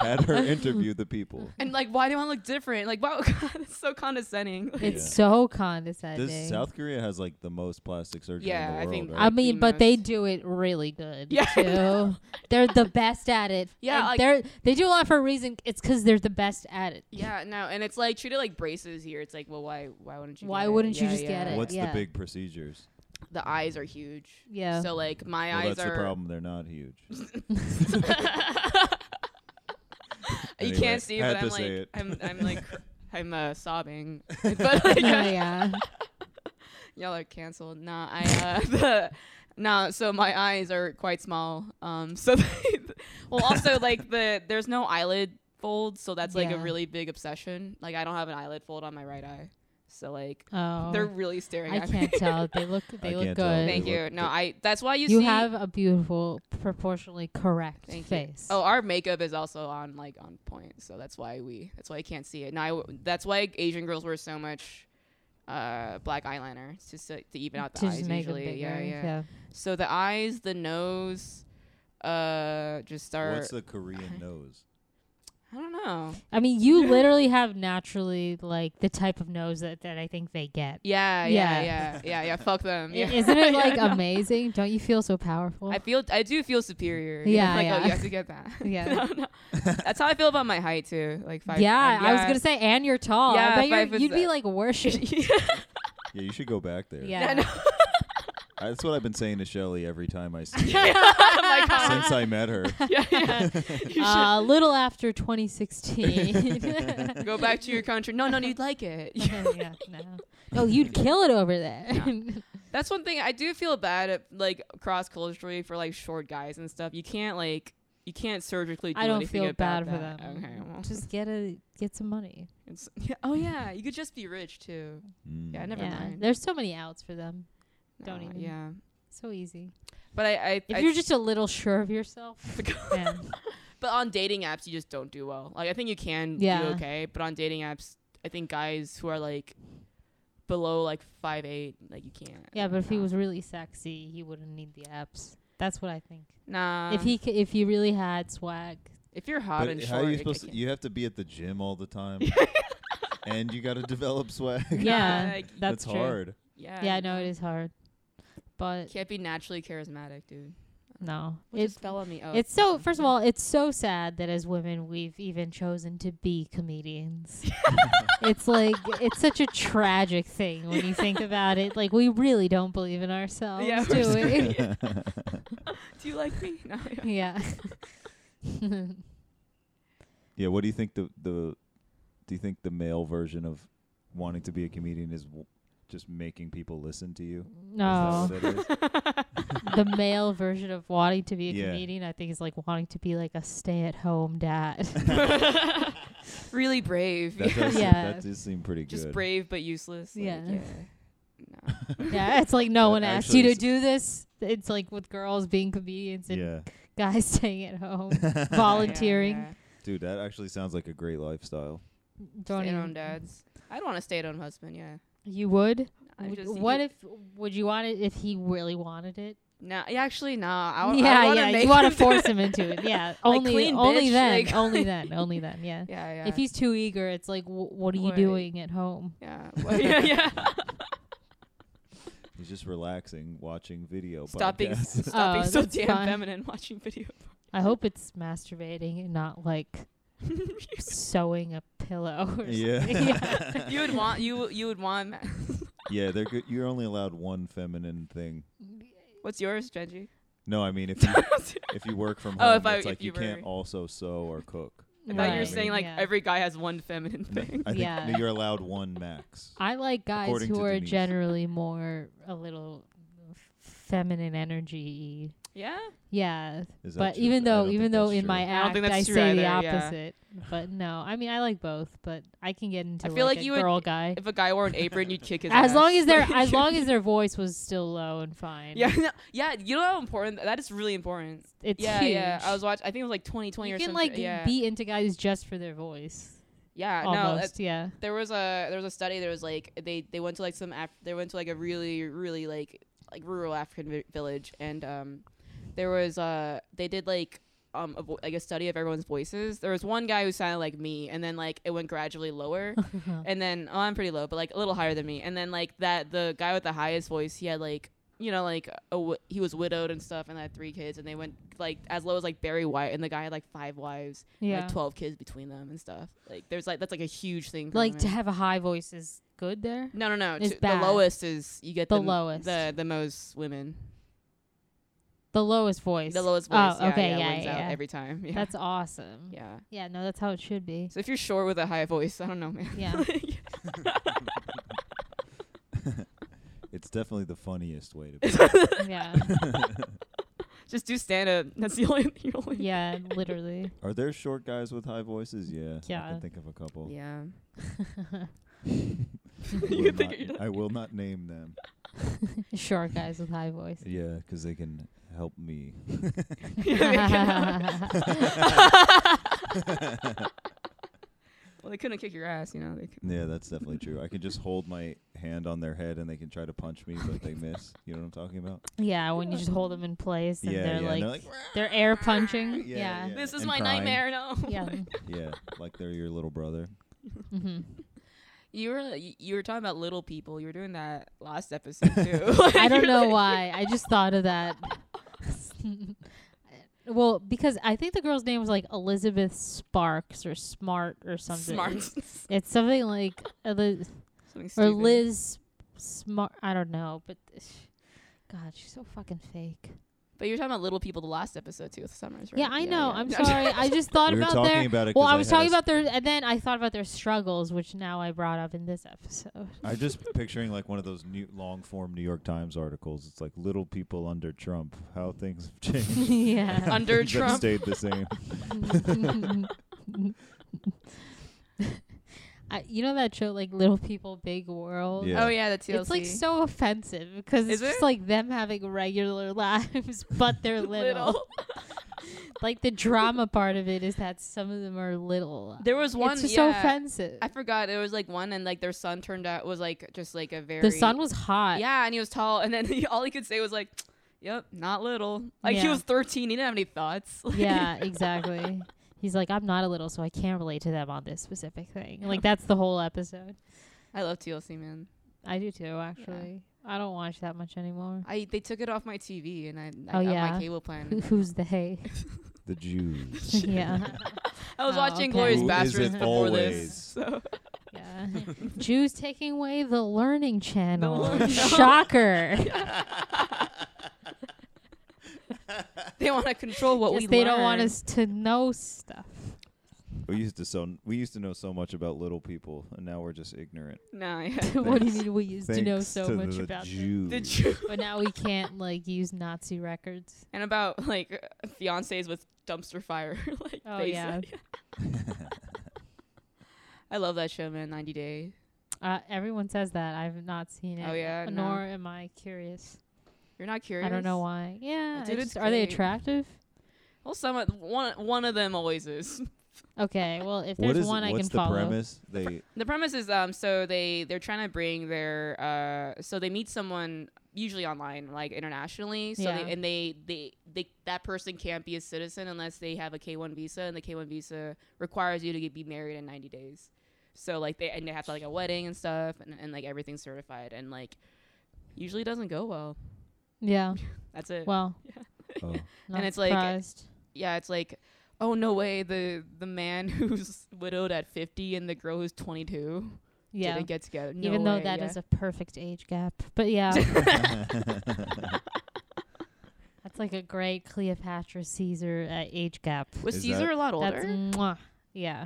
Had her interview the people. And like, why do you want to look different? Like, wow, God, it's so condescending. Like, It's Yeah. so condescending. This South Korea has like the most plastic surgery Yeah, I in the world. think- right? I like, mean, the but they most- do it really good. Yeah. too. they're the best at it. Yeah, And like- they're they do a lot for a reason. It's because they're the best at it. yeah, no, and it's like treated like braces here. It's like, well, why, why wouldn't you? Why get it? wouldn't you Yeah, just yeah. get it? What's yeah. the big procedures? the eyes are huge. Yeah. So like my well, eyes that's are. the problem. They're not huge. You Anyway, can't see, I had but I'm to say like, it. I'm, I'm like, cr- I'm uh, sobbing. but like, uh, Oh, yeah. y'all are canceled. Nah, I, uh, the, nah. So my eyes are quite small. Um, so they, well, also like the there's no eyelid fold, so that's like a Yeah. really big obsession. Like I don't have an eyelid fold on my right eye, so like Oh, they're really staring I at me. can't tell. They look I they look can't tell. good. Thank They you. look- No, I. That's why you, You see. have a beautiful, proportionally correct Thank you. face. Oh, our makeup is also on like on point, so that's why we that's why I can't see it. And I w- that's why Asian girls wear so much uh black eyeliner it's just to, to even out the to eyes just make usually. it bigger. yeah, yeah, So the eyes, the nose, uh, just are. What's the Korean nose? I don't know. I mean, you literally have naturally like the type of nose that, that I think they get. Yeah, yeah, Yeah. yeah, yeah, yeah. Fuck them. I- Yeah. Isn't it Yeah, like no. amazing? Don't you feel so powerful? I feel I do feel superior. Yeah, like oh, yeah. you have to get that. Yeah. No, no. That's how I feel about my height too. Like five. yeah, I was yeah. gonna say, and you're tall. Yeah, I bet five you're, foot you'd be se- like worshipped. Yeah, you should go back there. yeah, no. That's what I've been saying to Shelly every time I see her my God. since I met her. yeah, yeah. You should Uh, a little after 2016. go back to your country. No, no, you'd like it. yeah, no. Oh, you'd kill it over there. That's one thing I do feel bad at, like cross culturally for like short guys and stuff. You can't like you can't surgically. Do I don't anything feel bad about for that. them. Okay, well, Just get a get some money. it's, yeah, oh yeah, you could just be rich too. Mm. Yeah, I never yeah, mind. there's so many outs for them. No, Don't even. Yeah, So easy. but I, I, If I- you're just a little sure of yourself, then but on dating apps you just don't do well. Like I think you can do Yeah. okay, but on dating apps, I think guys who are like below like five eight, like you can't. yeah. But if he Nah. was really sexy, he wouldn't need the apps. That's what I think. nah, if he c- if he really had swag, if you're hot But and how short, are it you supposed ca- to? You have to be at the gym all the time, and you got to develop swag. yeah, like, that's, true. hard. yeah, Yeah, you no, it know. is hard. But Can't be naturally charismatic, dude. no, What It- just fell on me? Oh, It's so. First of all, it's so sad that as women we've even chosen to be comedians. it's like it's such a tragic thing when you think about it. Like we really don't believe in ourselves, Yeah, do we? Do you like me? No, yeah. yeah. Yeah. What do you think the the do you think the male version of wanting to be a comedian is w- just making people listen to you? no, Is that what it is? the male version of wanting to be a Yeah. comedian, I think, is like wanting to be like a stay-at-home dad. really brave. That does, Yeah. that does seem pretty Just good. brave but useless. like, Yeah. yeah. No. yeah, it's like no That one asked you actually to is- do this. It's like with girls being comedians and Yeah, guys staying at home, volunteering. Yeah, dude, that actually sounds like a great lifestyle. yeah. Don't Stay at even- home dads. I'd want a stay at home husband, yeah. You would? I Would- just think what it- if would you want it if he really wanted it? No, yeah, actually, no. I, w- I yeah, wanna yeah. Make you want him to force him into it? Yeah. Like, Only, clean only bitch, then, like- only then, only then. Yeah. Yeah, yeah. If he's too eager, it's like, w- what are you Right. doing at home? yeah, well, yeah, yeah. He's just relaxing, watching video. Stop being, podcasts. s- stop being Oh, so that's damn fine. feminine watching video. I hope it's masturbating and not like sewing a pillow. Or Yeah. something. you would want you you would want. ma- yeah, they're good. You're only allowed one feminine thing. What's yours, Genji? No, I mean if you if you work from home, Oh, if I- it's like if you you, can't were- also sew or cook. I thought you were Right. saying like Yeah. every guy has one feminine thing. I think Yeah. no, you're allowed one max. I like guys According who to are Denise. generally more a little feminine energy. yeah. Yeah, Is that but true? even I don't though think even though that's in true. my I don't act think I, that's true say the either, yeah. opposite, but no, I mean I like both, but I can get into I feel like, like a you would- e- girl guy If a guy wore an apron, you'd kick his. as ass. long as their Like, as long as their voice was still low and fine. Yeah, no, yeah. You know how important that is. Really important. it's yeah, huge. yeah. I was watching. I think it was like 2020 you or can something. like yeah. be into guys just for their voice. yeah. No. almost, that- yeah. there was a there was a study. There was like they they went to like some Af- they went to like a really really like like rural African vi- village and um there was uh they did like um a vo- like a study of everyone's voices. There was one guy who sounded like me, and then like it went gradually lower, and then oh I'm pretty low, but like a little higher than me, and then like that the guy with the highest voice he had like you know like a w- he was widowed and stuff and had three kids and they went like as low as like Barry White and the guy had like five wives and, Yeah. like 12 kids between them and stuff like there's like that's like a huge thing for Like women. to have a high voice is good there. No, no, no. It's to- bad. The lowest is you get The the, m- lowest. the the most women. The lowest voice. The lowest voice. Oh, yeah, okay, yeah, yeah, wins yeah. out every time. Yeah. That's awesome. Yeah. yeah. no, that's how it should be. So if you're short with a high voice, I don't know, man. Yeah. it's definitely the funniest way to. Be. yeah. Just do stand up. That's the only. Your only Yeah, literally. Are there short guys with high voices? Yeah, I Yeah. can think of a couple. Yeah. I, will not, I will not name them. Sure, guys with high voice. Yeah, 'cause they can help me. Well, they couldn't kick your ass, you know. They could. Yeah, that's definitely true. I can just hold my hand on their head and they can try to punch me, but they miss. You know what I'm talking about? yeah, when you just hold them in place and Yeah, they're, yeah, like, and they're they're air punching. Yeah, Yeah. yeah. This is And my crying. nightmare. No. Yeah. Yeah, like they're your little brother. hmm You were y- you were talking about little people. You were doing that last episode too. I don't You're know like- why. I just thought of that. well, because I think the girl's name was like Elizabeth Sparks or Smart or something. Smart. It's something like Eliz- Something or stupid. Liz Smart. I don't know, but God, she's so fucking fake. But you were talking about little people the last episode too with Summers, right? Yeah, I know. I'm No, sorry. I just thought we were about talking their. about it. Well, 'cause I was had talking us- about their, and then I thought about their struggles, which now I brought up in this episode. I just picturing like one of those new long form New York Times articles. It's like little people under Trump, how things have changed. yeah. Under Things have Trump. stayed the same. I, you know that show, like Little People, Big World. Yeah. Oh yeah, the TLC. It's like so offensive because it's Is just it? like them having regular lives, but they're little. Like the drama part of it is that some of them are little. There was one. it's just so yeah, offensive. I forgot. It was like one, and like their son turned out was like just like a very. the son was hot. Yeah, and he was tall, and then he, all he could say was like, "Yep, not little." Like he Yeah. was 13. He didn't have any thoughts. Like, Yeah, exactly. He's like, I'm not a little, so I can't relate to them on this specific thing. Like that's the whole episode. I love TLC, man. I do too, actually. I don't watch that much anymore. I they took it off my TV, and I, Oh, I got yeah. my cable Who- plan. Who's they? The Jews. yeah, I was Oh, watching okay. Glorious Who is Bastards it before always? this. So. yeah. Jews taking away the learning channel. learning- Shocker. They want to control what Guess we. they don't want learn. us to know stuff. We used to so we used to know so much about little people, and now we're just ignorant. No, yeah. what do you mean we used to know Thanks so to much the about them? Jews. The Jew- But now we can't like use Nazi records. and about like fiancés with dumpster fire. like Oh faces. yeah. I love that show, man. 90 Day. Uh, everyone says that. I've not seen it. Oh, yeah? No. Nor am I curious. You're not curious. I don't know why. Yeah. I Dude, it's just- are they great. attractive? Well, some of- one one of them always is. Okay. Well, if What there's is one I what's can the follow. premise? They The premise is um so they they're trying to bring their uh so they meet someone usually online like internationally so Yeah. they, and they, they they that person can't be a citizen unless they have a K1 visa and the K1 visa requires you to get be married in 90 days. So like they and they have to like a wedding and stuff and, and like everything's certified and like usually doesn't go well. Yeah. That's it. Well, oh, not it's like- surprised. yeah, it's like, oh no way, the the man who's widowed at fifty and the girl who's twenty two yeah. didn't get together. No Even though way, that is a yeah. perfect age gap. But yeah. that's like a great Cleopatra Caesar uh, age gap. was Is Caesar that- a lot That's older? mwah. yeah.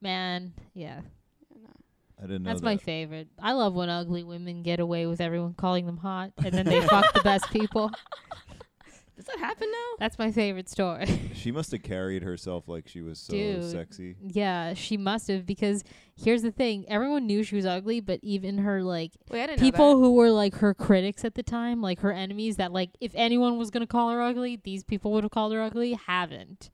Man, yeah. I didn't know That's that. my favorite. I love when ugly women get away with everyone calling them hot and then they fuck the best people. Does that happen now? That's my favorite story. she must have carried herself like she was so Dude. sexy. yeah, she must have because here's the thing, everyone knew she was ugly, but even her like Wait, I didn't people know who were like her critics at the time, like her enemies that like if anyone was going to call her ugly, these people would have called her ugly, haven't.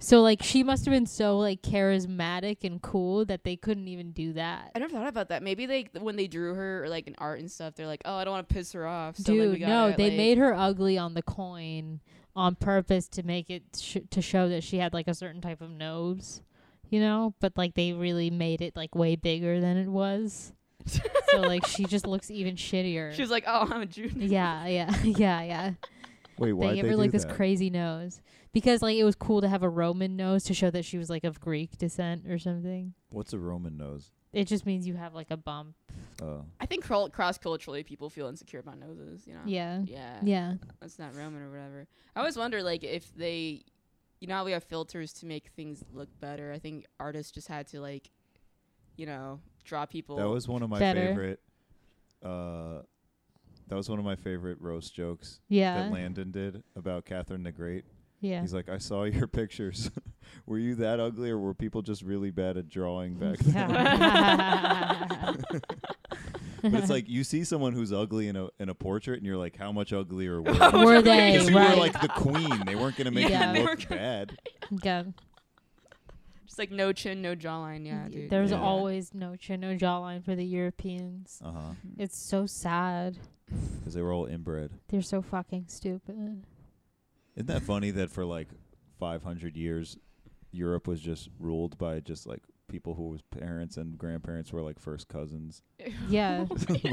So like she must have been so like charismatic and cool that they couldn't even do that. that. I never thought about that. Maybe they when they drew her like in art and stuff, they're like, oh, I don't want to piss her off. So, like, Dude, we no, gotta, they like- made her ugly on the coin on purpose to make it sh- to show that she had like a certain type of nose, you know. But like they really made it like way bigger than it was, so like she just looks even shittier. She was like, oh, I'm a Jew. now." yeah, yeah, yeah, yeah. Wait, why they did gave they her do like that? this crazy nose because like it was cool to have a Roman nose to show that she was like of Greek descent or something. What's a Roman nose? It just means you have like a bump. Oh, I think cross culturally, people feel insecure about noses. You know. Yeah, Oh. Yeah. yeah, That's not Roman or whatever. I always wonder, like, if they, you know, how we have filters to make things look better. I think artists just had to, like, you know, draw people. that was one of my Better. favorite. Uh, that was one of my favorite roast jokes that yeah, Landon did about Catherine the Great. yeah. He's like, I saw your pictures. were you that ugly, or were people just really bad at drawing back then? But Uh-huh. it's like you see someone who's ugly in a in a portrait, and you're like, how much uglier were they? Were they Because you right? were like the queen. They weren't gonna make Yeah. you They look bad. yeah. just like no chin, no jawline. Yeah, Y- dude. There's Yeah. always no chin, no jawline for the Europeans. Uh huh. It's so sad. Because they were all inbred. They're so fucking stupid. Isn't that funny that for like 500 years, Europe was just ruled by just like people whose parents and grandparents were like first cousins. Yeah. like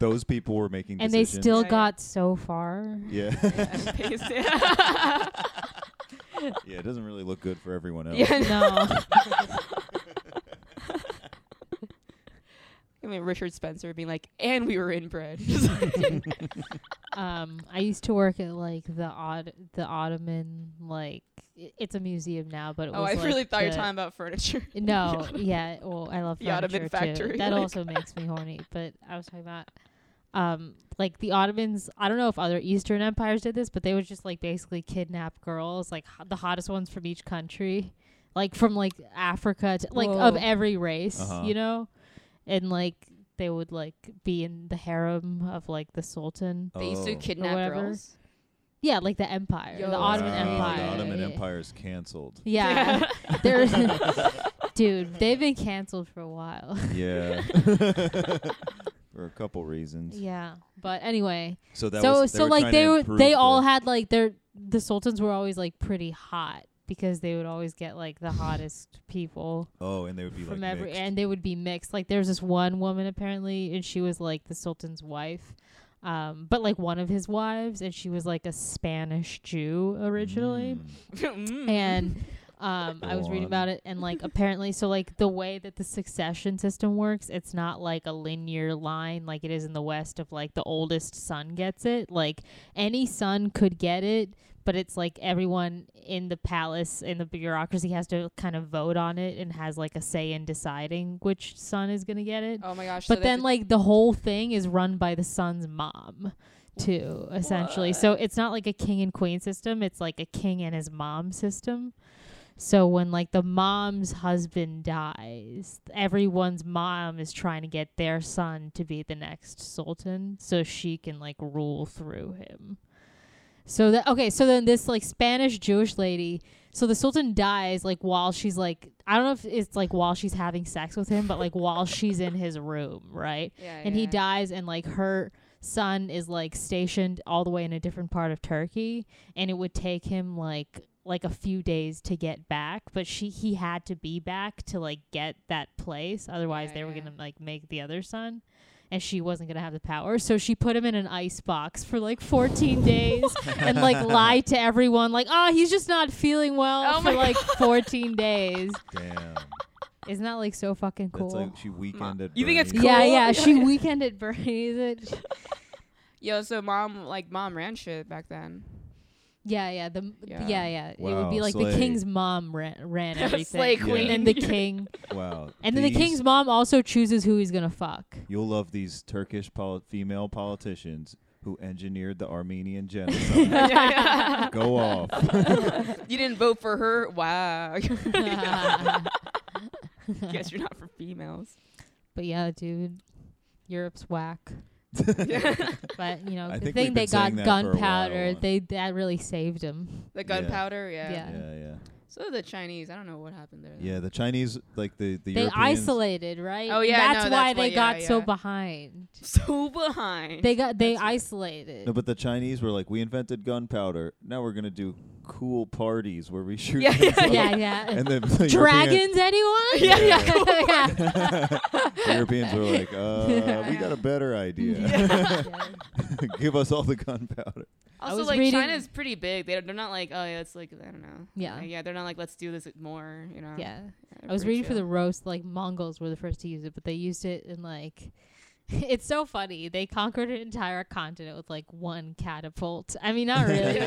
those people were making and they decisions. still Yeah, yeah. got so far. yeah. Yeah, based- yeah. yeah, it doesn't really look good for everyone else. Yeah, No. It mean, Richard Spencer being like, and we were inbred. um, I used to work at like the odd the Ottoman like i- it's a museum now, but it oh, was I like, really thought you were the- talking about furniture. No, yeah. Well, I love The furniture too. Ottoman factory, That like- also makes me horny. But I was talking about, um, like the Ottomans. I don't know if other Eastern empires did this, but they would just like basically kidnap girls, like ho- the hottest ones from each country, like from like Africa, to, like of Whoa. every race, Uh-huh. you know, and like they would like be in the harem of like the sultan. They used to Oh. kidnap whatever. girls. Yeah, like the empire, Yo, the Ottoman Wow, Empire. Ah, The Ottoman yeah. Empire is canceled. Yeah. They're Dude, they've been canceled for a while. Yeah. For a couple reasons. yeah. But anyway, So that so was, so like they were were they all had like their the sultans were always like pretty hot because they would always get like the hottest people Oh, and they would be from like every mixed. and they would be mixed. Like there's this one woman apparently and she was like the sultan's wife. Um, but like one of his wives and she was like a Spanish Jew originally. Mm. Mm. and um, I Go was reading on. about it, and like apparently, so like the way that the succession system works, it's not like a linear line like it is in the West of like the oldest son gets it. Like any son could get it, but it's like everyone in the palace in the bureaucracy has to kind of vote on it and has like a say in deciding which son is gonna get it. oh my gosh. so But they then, have to- like the whole thing is run by the son's mom, too. Essentially, so it's not like a king and queen system. It's like a king and his mom system. So when like the mom's husband dies, everyone's mom is trying to get their son to be the next sultan, so she can like rule through him. So that okay, so then this like Spanish Jewish lady, so the Sultan dies like while she's like I don't know if it's like while she's having sex with him, but like while she's in his room, right? yeah, And he yeah. dies and like her son is like stationed all the way in a different part of Turkey and it would take him like like a few days to get back, but she he had to be back to like get that place. Otherwise Yeah, they were yeah. gonna like make the other son and she wasn't gonna have the power. So she put him in an ice box for like 14 days and like lied to everyone, like, ah, he's just not feeling well Oh for my like 14 days. Damn. Isn't that like so fucking cool? That's like she weekended. You think it's Bernie. cool? Yeah, yeah. She weekend at Bernie's. It. Yo, so mom, like mom ran shit back then. Yeah, yeah. The m- yeah, Yeah. yeah. It would be Wow, like slay. the king's mom ran, ran everything, Slay Yeah. queen. and then the king, Wow. and then the These- king's mom also chooses who he's gonna fuck. You'll love these Turkish poli- female politicians who engineered the Armenian genocide. Go off. you didn't vote for her? Wow. but Guess you're not for females. yeah, dude, Europe's whack. the But you know, I the think we've thing they been got saying that for a while. gunpowder, they that really saved him. gunpowder, yeah. Yeah. Yeah, yeah. So the Chinese, I don't know what happened there. Yeah, the Chinese like the the They Europeans, isolated, right? Oh, yeah, that's no, why that's they why- got yeah, so yeah. behind. So behind. They got they That's right. isolated. No, but the Chinese were like, we invented gunpowder. Now we're gonna do cool parties where we shoot. Yeah, yeah, things up." yeah, yeah. And then the European- Dragons, anyone? Yeah, yeah. the Europeans were like, uh, we got a better idea. Give us all the gunpowder. I also, was like reading- China's pretty big. They they're not like oh yeah, it's like I don't know. Yeah. Like, yeah, they're not like let's do this more. You know. Yeah. They're I was pretty reading for the chill. roast, like Mongols were the first to use it, but they used it in like it's so funny. They conquered an entire continent with like one catapult. I mean not really.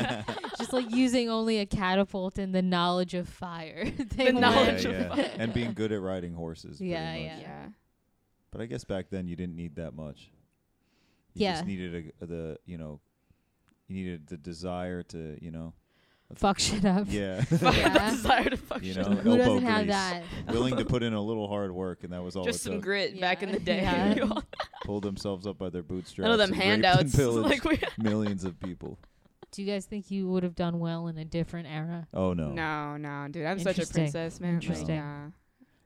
Just like using only a catapult and the knowledge of fire. they The went- knowledge yeah, of yeah. and being good at riding horses. pretty Yeah, much. yeah. Yeah. But I guess back then you didn't need that much. You Yeah. just needed a, the you know, you needed the desire to you know, fuck shit up. yeah, Yeah. desire to fuck You shit know, up. elbow Who doesn't have grease. that? willing to put in a little hard work, and that was all Just it some took. grit back in Yeah. the day. Yeah. Pull themselves up by their bootstraps. None of them and raped and handouts. like pillaged we. millions of people. Do you guys think you would have done well in a different era? Oh no, No, no, dude. I'm such a Interesting. princess, man. Like, Interesting. nah.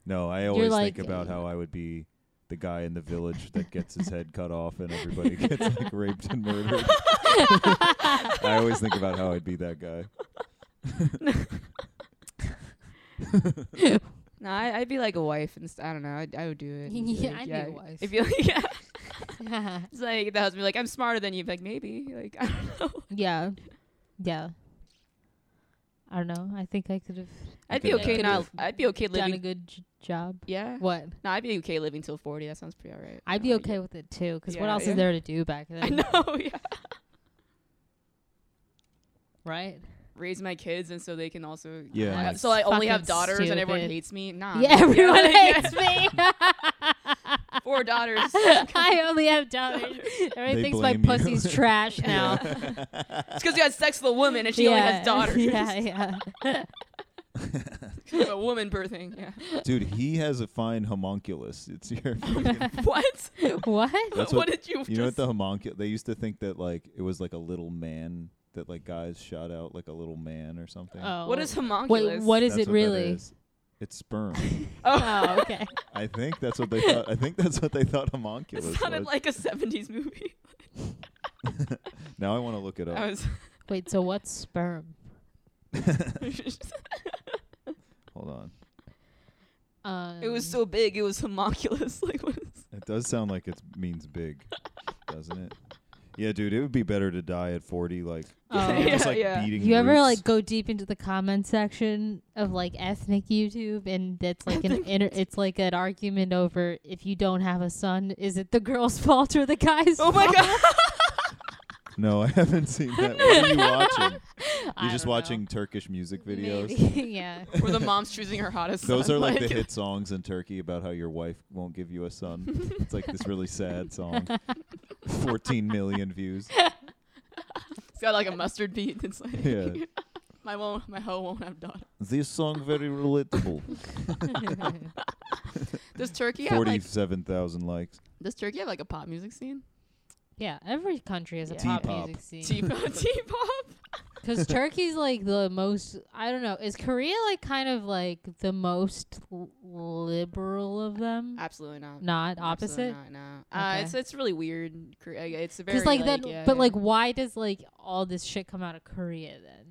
No, I always like, think about uh, how I would be the guy in the village that gets his head cut off and everybody gets like raped and murdered. I always think about how I'd be that guy. No, I, I'd be like a wife and st- I don't know. I'd, I would do it. Yeah, Be like, I'd be a wife. If you like, yeah. yeah. It's like the husband be like, I'm smarter than you. Be Like maybe. Like I don't know. Yeah. Yeah. I don't know. I think I could have I'd Okay, be okay good. not. I'd be okay done a living. good j- job. Yeah. What? No, I'd be okay living till forty. That sounds pretty alright. I'd be okay with it too, 'cause what Yeah, else yeah. is there to do back then, I know. Yeah. right? Raise my kids, and so they can also. Yeah. Uh, That's so I only fucking have daughters, and everyone stupid. hates me. Nah. yeah, everyone like, hates me. Four daughters. I only have daughters. Everyone thinks my blame you. pussy's trash now. It's because you had sex with a woman, and she only has daughters. Yeah, yeah. a woman birthing. Yeah. Dude, he has a fine homunculus. It's your. what? what? That's what, what- did you? you know what just- the homunculus? They used to think that like it was like a little man that like guys shot out like a little man or something. Oh. what is homunculus? Wait, what is That's it what that really? is. It's sperm. Oh, okay. I think that's what they thought. I think that's what they thought It homunculus sounded was. like a '70s movie. now I want to look it I up. was. Wait, so what's sperm? Hold on. Um, it was so big. It was homunculus. Like what is? It does sound like it means big, doesn't it? Yeah, dude, it would be better to die at 40 like Oh. you're just Yeah, like yeah. beating You ever roots. like go deep into the comment section of like ethnic YouTube, and that's like an inter- it's like an argument over if you don't have a son, is it the girl's fault or the guy's? Oh my fault? god! No, I haven't seen that. What are you watching? I You're don't just know. watching Turkish music videos. Maybe, yeah. Where the mom's choosing her hottest. Those son, are like the hit songs in Turkey about how your wife won't give you a son. it's like this really sad song. 14 million views. It's got like a mustard beat. It's like Yeah. my won't, my hoe won't have daughters. This song very relatable. Does Turkey have like 47,000 likes. does Turkey have like a pop music scene? yeah, every country has a Yeah. pop T-pop. music scene. T-pop, T-pop. Because Turkey's like the most, I don't know, is Korea like kind of like the most l- liberal of them? Absolutely not. Not Absolutely opposite? Not, no. Uh, it's Okay. it's really weird. Cor- uh, It's a very Because like, like that, yeah, but yeah. like, why does like all this shit come out of Korea then?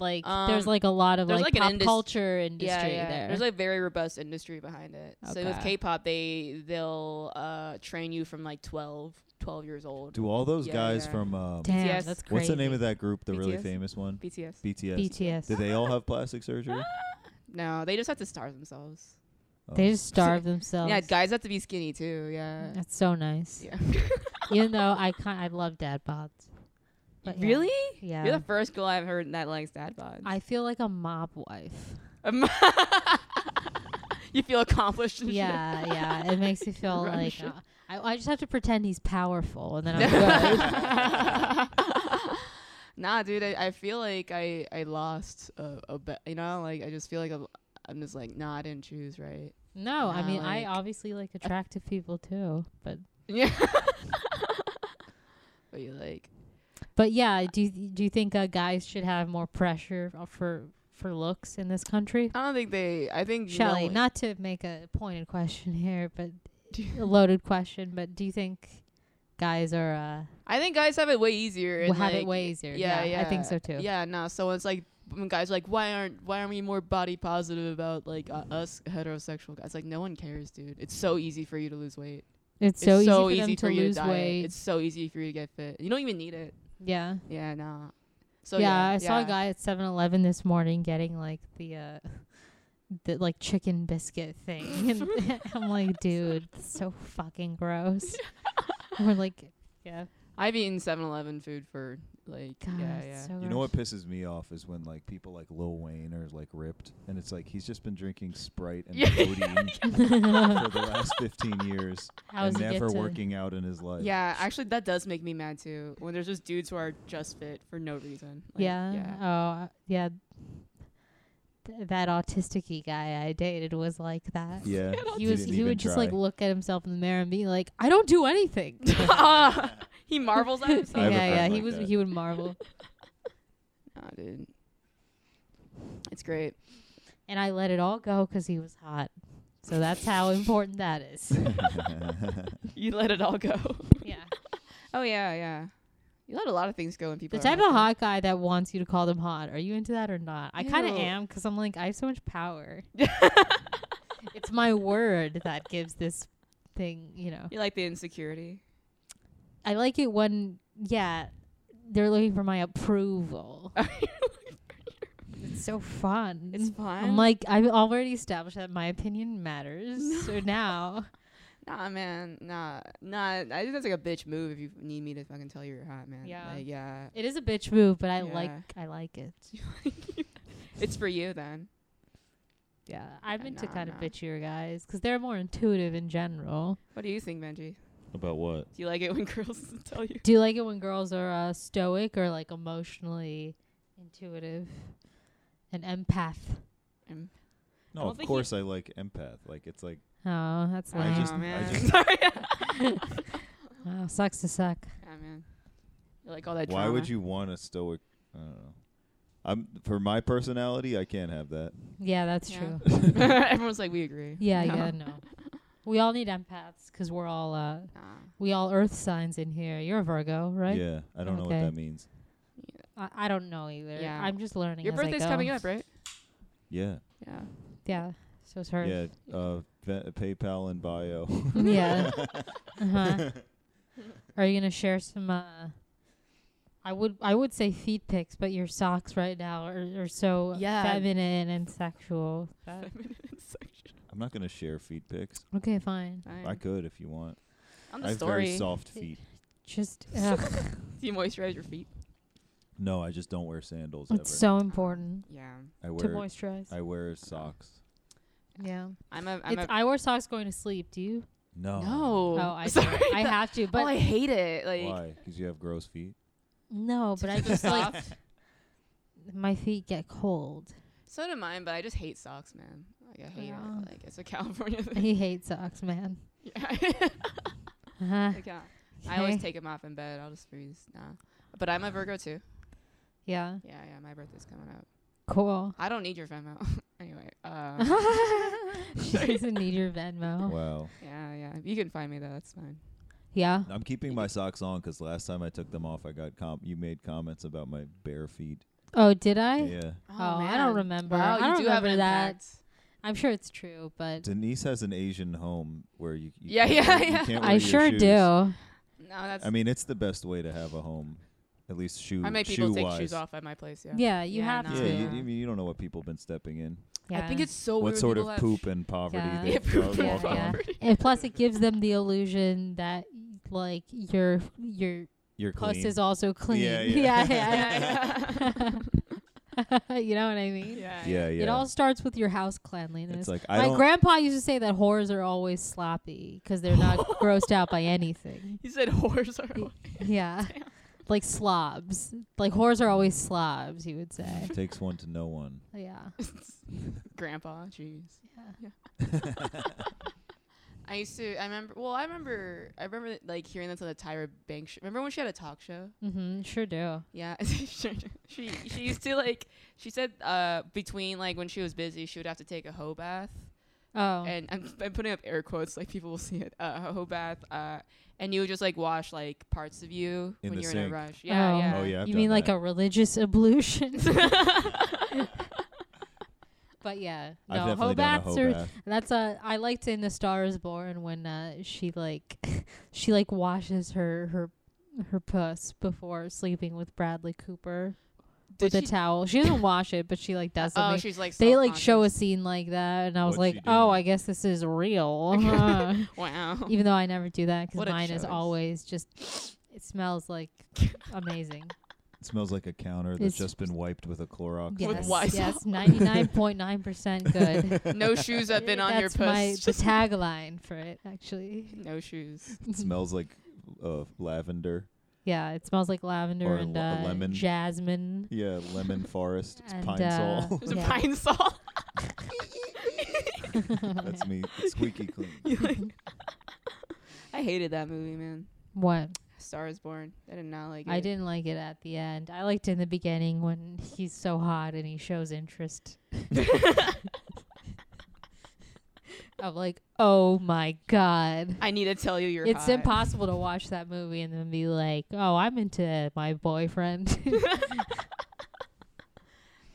Like, there's Um, like a lot of there's, like, like, an pop indus- culture industry yeah, yeah. there. There's like very robust industry behind it. So with Okay. K-pop, they they'll uh, train you from like 12, 12 years old. Do all those Yeah, guys yeah. from um, Damn, BTS. that's crazy. what's the name of that group, the really BTS? famous one? BTS. BTS. BTS. Do they all have plastic surgery? No, they just have to starve themselves. Oh. They just starve themselves. Yeah, guys have to be skinny too. Yeah. That's so nice. Yeah. Even though I kind, I love dad bods. But yeah. really? Yeah. You're the first girl I've heard that likes dad bod. I feel like a mob wife. Um, you feel accomplished. and shit. yeah, yeah. It makes me feel Run like shit. uh, I, I just have to pretend he's powerful, and then I'm good. nah, dude, I, I feel like I I lost a, a bet. You know, like I just feel like I'm, I'm just like nah, I didn't choose right. no, I Nah, mean like- I obviously like attractive people too, but Yeah. but you like but yeah. Do you, do you think uh, guys should have more pressure uh, for for looks in this country? I don't think they. I think Shelley, no- not to make a pointed question here, but a loaded question. But do you think guys are uh, I think guys have it way easier. will and, have it like, way easier? I think so too. Yeah, no. So it's like when guys are like, why aren't why aren't we more body positive about like uh, us heterosexual guys? Like no one cares, dude. It's so easy for you to lose weight. It's It's so, so easy for easy them to you lose to diet. weight. It's so easy for you to get fit. You don't even need it. yeah. Yeah, nah. So yeah, yeah, I saw yeah. a guy at 7-Eleven this morning getting like the uh the like chicken biscuit thing. And I'm like, dude, that's so fucking gross. And We're like, yeah, I've eaten 7-Eleven food for like God, yeah, it's yeah. so You know what gross. pisses me off is when like people like Lil Wayne are like ripped, and it's like he's just been drinking Sprite and Yeah. codeine for the last 15 years How does and it get never to- working out in his life. yeah, actually that does make me mad too. When there's just dudes who are just fit for no reason. Like, yeah, Oh, uh, yeah. Th- that autistic guy I dated was like that. Yeah. He was. didn't He would even just try. like look at himself in the mirror and be like, "I don't do anything." Yeah. he marvels at yeah, himself. I have a friend yeah. He like was. that. He would marvel. Nah, dude. It's great. and I let it all go 'cause he was hot. So that's how important that is. You let it all go. yeah. oh yeah, yeah. You let a lot of things go when people. The are type like of that. hot guy that wants you to call them hot. Are you into that or not? I kind of Ew. am 'cause I'm like I have so much power. it's my word that gives this thing, you know. You like the insecurity. I like it when yeah, they're looking for my approval. it's so fun. It's fun. Mm-hmm. I'm like, I've already established that my opinion matters. So now, Nah, man, nah, nah. I think that's like a bitch move if you need me to fucking tell you you're hot, man. Yeah. Like, yeah. it is a bitch move, but I like, Yeah. I like it. It's for you then. Yeah, I'm into nah, kind of nah. bitchier guys 'cause they're more intuitive in general. What do you think, Benji? About what? Do you like it when girls tell you? Do you like it when girls are uh, stoic or like emotionally intuitive and empath? Um, I No, don't of think he- course I like empath. Like it's like Oh, that's I lame. just- Aw, man. just- Sorry. oh, sucks to suck. yeah, man. You like all that why would drama. you want a stoic? I don't know. I'm for my personality, I can't have that. Yeah, that's Yeah. true. Everyone's like, we agree. Yeah, No. yeah, no. We all need empaths 'cause we're all uh, Nah. we all Earth signs in here. You're a Virgo, right? Yeah, I don't know Okay. what that means. I, I don't know either. Yeah. I'm just learning. Your as I birthday's go. coming up, right? Yeah, Yeah. Yeah. So it's hers. yeah. Uh, ve- PayPal and bio. yeah. Uh-huh. Are you gonna share some? Uh, I would I would say feet pics, but your socks right now are, are so Yeah. feminine and sexual. that- I'm not gonna share feet pics. okay, fine. I could if you want. On I the have story, very soft feet. Just ugh, do you moisturize your feet? No, I just don't wear sandals ever. it's so important Yeah. I to wear moisturize. I wear socks. yeah, I'm a. I'm it's, a I wear socks going to sleep. Do you? No. no. Oh, I do. Sorry. I that- have to, but oh, I hate it. Like, Why? Because you have gross feet. no, Oh, but I It's just like soft. my feet get cold. So do mine, but I just hate socks, man. Like I hate Yeah. it. Like it's a California thing. he hates socks, man. Yeah. Uh-huh. Like, uh, I always Okay. take them off in bed. I'll just freeze. Nah. But I'm a Virgo too. Yeah, Yeah, yeah. My birthday's coming up. cool. I don't need your Venmo. anyway. Uh, she doesn't need your Venmo. Wow. yeah, yeah. You can find me though. That's fine. Yeah. I'm keeping my socks on 'cause last time I took them off, I got com. You made comments about my bare feet. Oh, did I? Yeah. Oh, I don't remember. Wow, I you don't do have an remember that. impact. I'm sure it's true, but Denise has an Asian home where you. you Yeah, can't yeah, wear- you yeah. can't wear I your sure shoes. do. No, that's. I mean, it's the best way to have a home, at least shoe. I make people take shoe-wise. shoes off at my place. Yeah. Yeah, you Yeah, have nah. Yeah, to. you, you, mean, you don't know what people been stepping in. Yeah. I think it's so weird. what sort people of have poop and poverty Yeah. they Yeah, poop walk and on. poverty. and plus it gives them the illusion that like your your You're puss clean. is also clean. Yeah, yeah. yeah. yeah. you know what I mean? Yeah. yeah, yeah. It all starts with your house cleanliness. it's like I My don't. grandpa used to say that whores are always sloppy because they're not grossed out by anything. You said whores are. Yeah. Like slobs. Like whores are always slobs, he would say. takes one to know one. Yeah. Grandpa, jeez. Yeah. I used to. I remember. Well, I remember. I remember like hearing this on the Tyra Banks. Sh- remember when she had a talk show? Mm-hmm. Sure do. Yeah, she she she used to like. She said uh between like when she was busy, she would have to take a hoe bath, Oh. and I'm, I'm putting up air quotes like people will see it. Uh, a hoe bath. Uh, and you would just like wash like parts of you In when the you're in sink. a rush. Yeah, Oh. yeah. Oh yeah. I've you done mean like that. a religious ablution? but yeah, I've no, definitely hoe done a baths are. hoe bath. That's uh, I liked in The Star Is Born when uh, she like, she like washes her her her puss before sleeping with Bradley Cooper with Did she- a towel. She doesn't wash it, but she like does oh, something. she's like. they like show a self-conscious. scene like that, and I was What'd like, she oh, do? I guess this is real. Uh-huh. Wow. Even though I never do that because What a mine is choice. always just. It smells like amazing. It smells like a counter that's It's- just been wiped with a Clorox. Yes, Lysol. yes, ninety nine point nine percent good. No shoes have been on your That's my puss. the Just tagline for it actually. no shoes. It smells like uh, lavender. Yeah, it smells like lavender Or and le- uh, lemon. jasmine. Yeah, lemon forest. It's And, pine uh, sol. There's Yeah. a pine saw. uh, that's me. It's squeaky clean. I hated that movie, man. What? Star is Born. I did not like it. I didn't like it at the end. I liked it in the beginning when he's so hot and he shows interest. I'm like, oh my god. I need to tell you you're it's hot. impossible to watch that movie and then be like, oh, I'm into my boyfriend.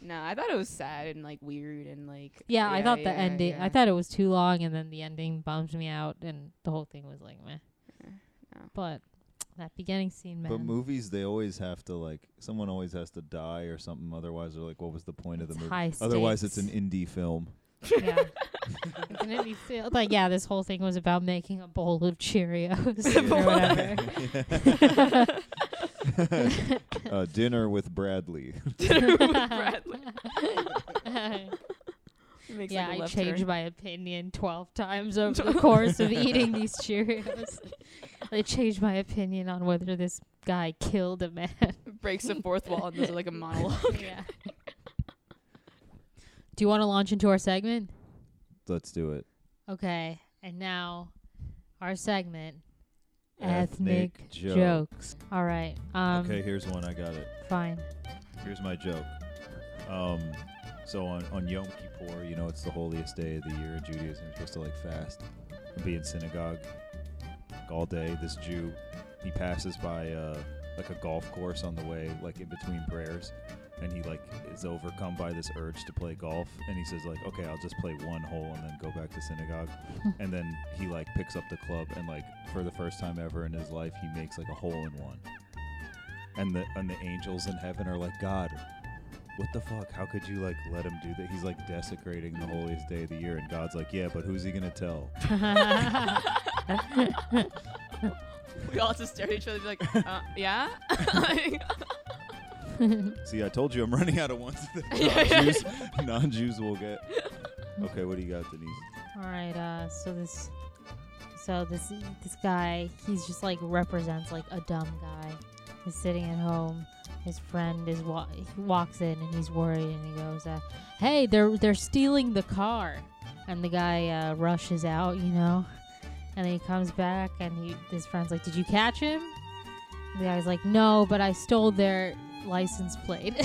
No, I thought it was sad and like weird and like. yeah, I thought the yeah, ending, yeah. I thought it was too long and then the ending bummed me out and the whole thing was like meh. Yeah. But That beginning scene, man. But movies, they always have to like someone always has to die or something. Otherwise, they're like, what was the point of the It's movie? high Otherwise, it's an stakes. indie film. yeah. It's an indie film. Like, yeah, this whole thing was about making a bowl of Cheerios or whatever. uh, dinner with Bradley. Bradley. Makes yeah, like a I left changed turn. my opinion 12 times over the course of eating these Cheerios. I changed my opinion on whether this guy killed a man. breaks the fourth wall and does like a monologue. yeah. Do you want to launch into our segment? Let's do it. Okay. And now our segment Ethnic ethnic, joke. jokes. All right. Um okay, here's one. I got it. fine. Here's my joke. Um, so on, on Yom Kippur, you know, it's the holiest day of the year in Judaism. You're supposed to like fast and be in synagogue like, all day. This Jew, he passes by uh, like a golf course on the way, like in between prayers, and he like is overcome by this urge to play golf. And he says like, okay, I'll just play one hole and then go back to synagogue. and then he like picks up the club and like for the first time ever in his life, he makes like a hole in one and the and the angels in heaven are like, God, what the fuck? How could you like let him do that? He's like desecrating the holiest day of the year, and God's like, Yeah, but who's he gonna tell? we all just stare at each other and be like, uh, yeah? See, I told you I'm running out of ones that non-Jews, non-Jews will get. Okay, what do you got, Denise? All right. Uh, so this, so this this guy, he's just like represents like a dumb guy. He's sitting at home. His friend is wa- he walks in and he's worried and he goes, uh, "Hey, they're they're stealing the car," and the guy uh, rushes out, you know, and then he comes back and he his friend's like, "Did you catch him?" And the guy's like, "No, but I stole their license plate."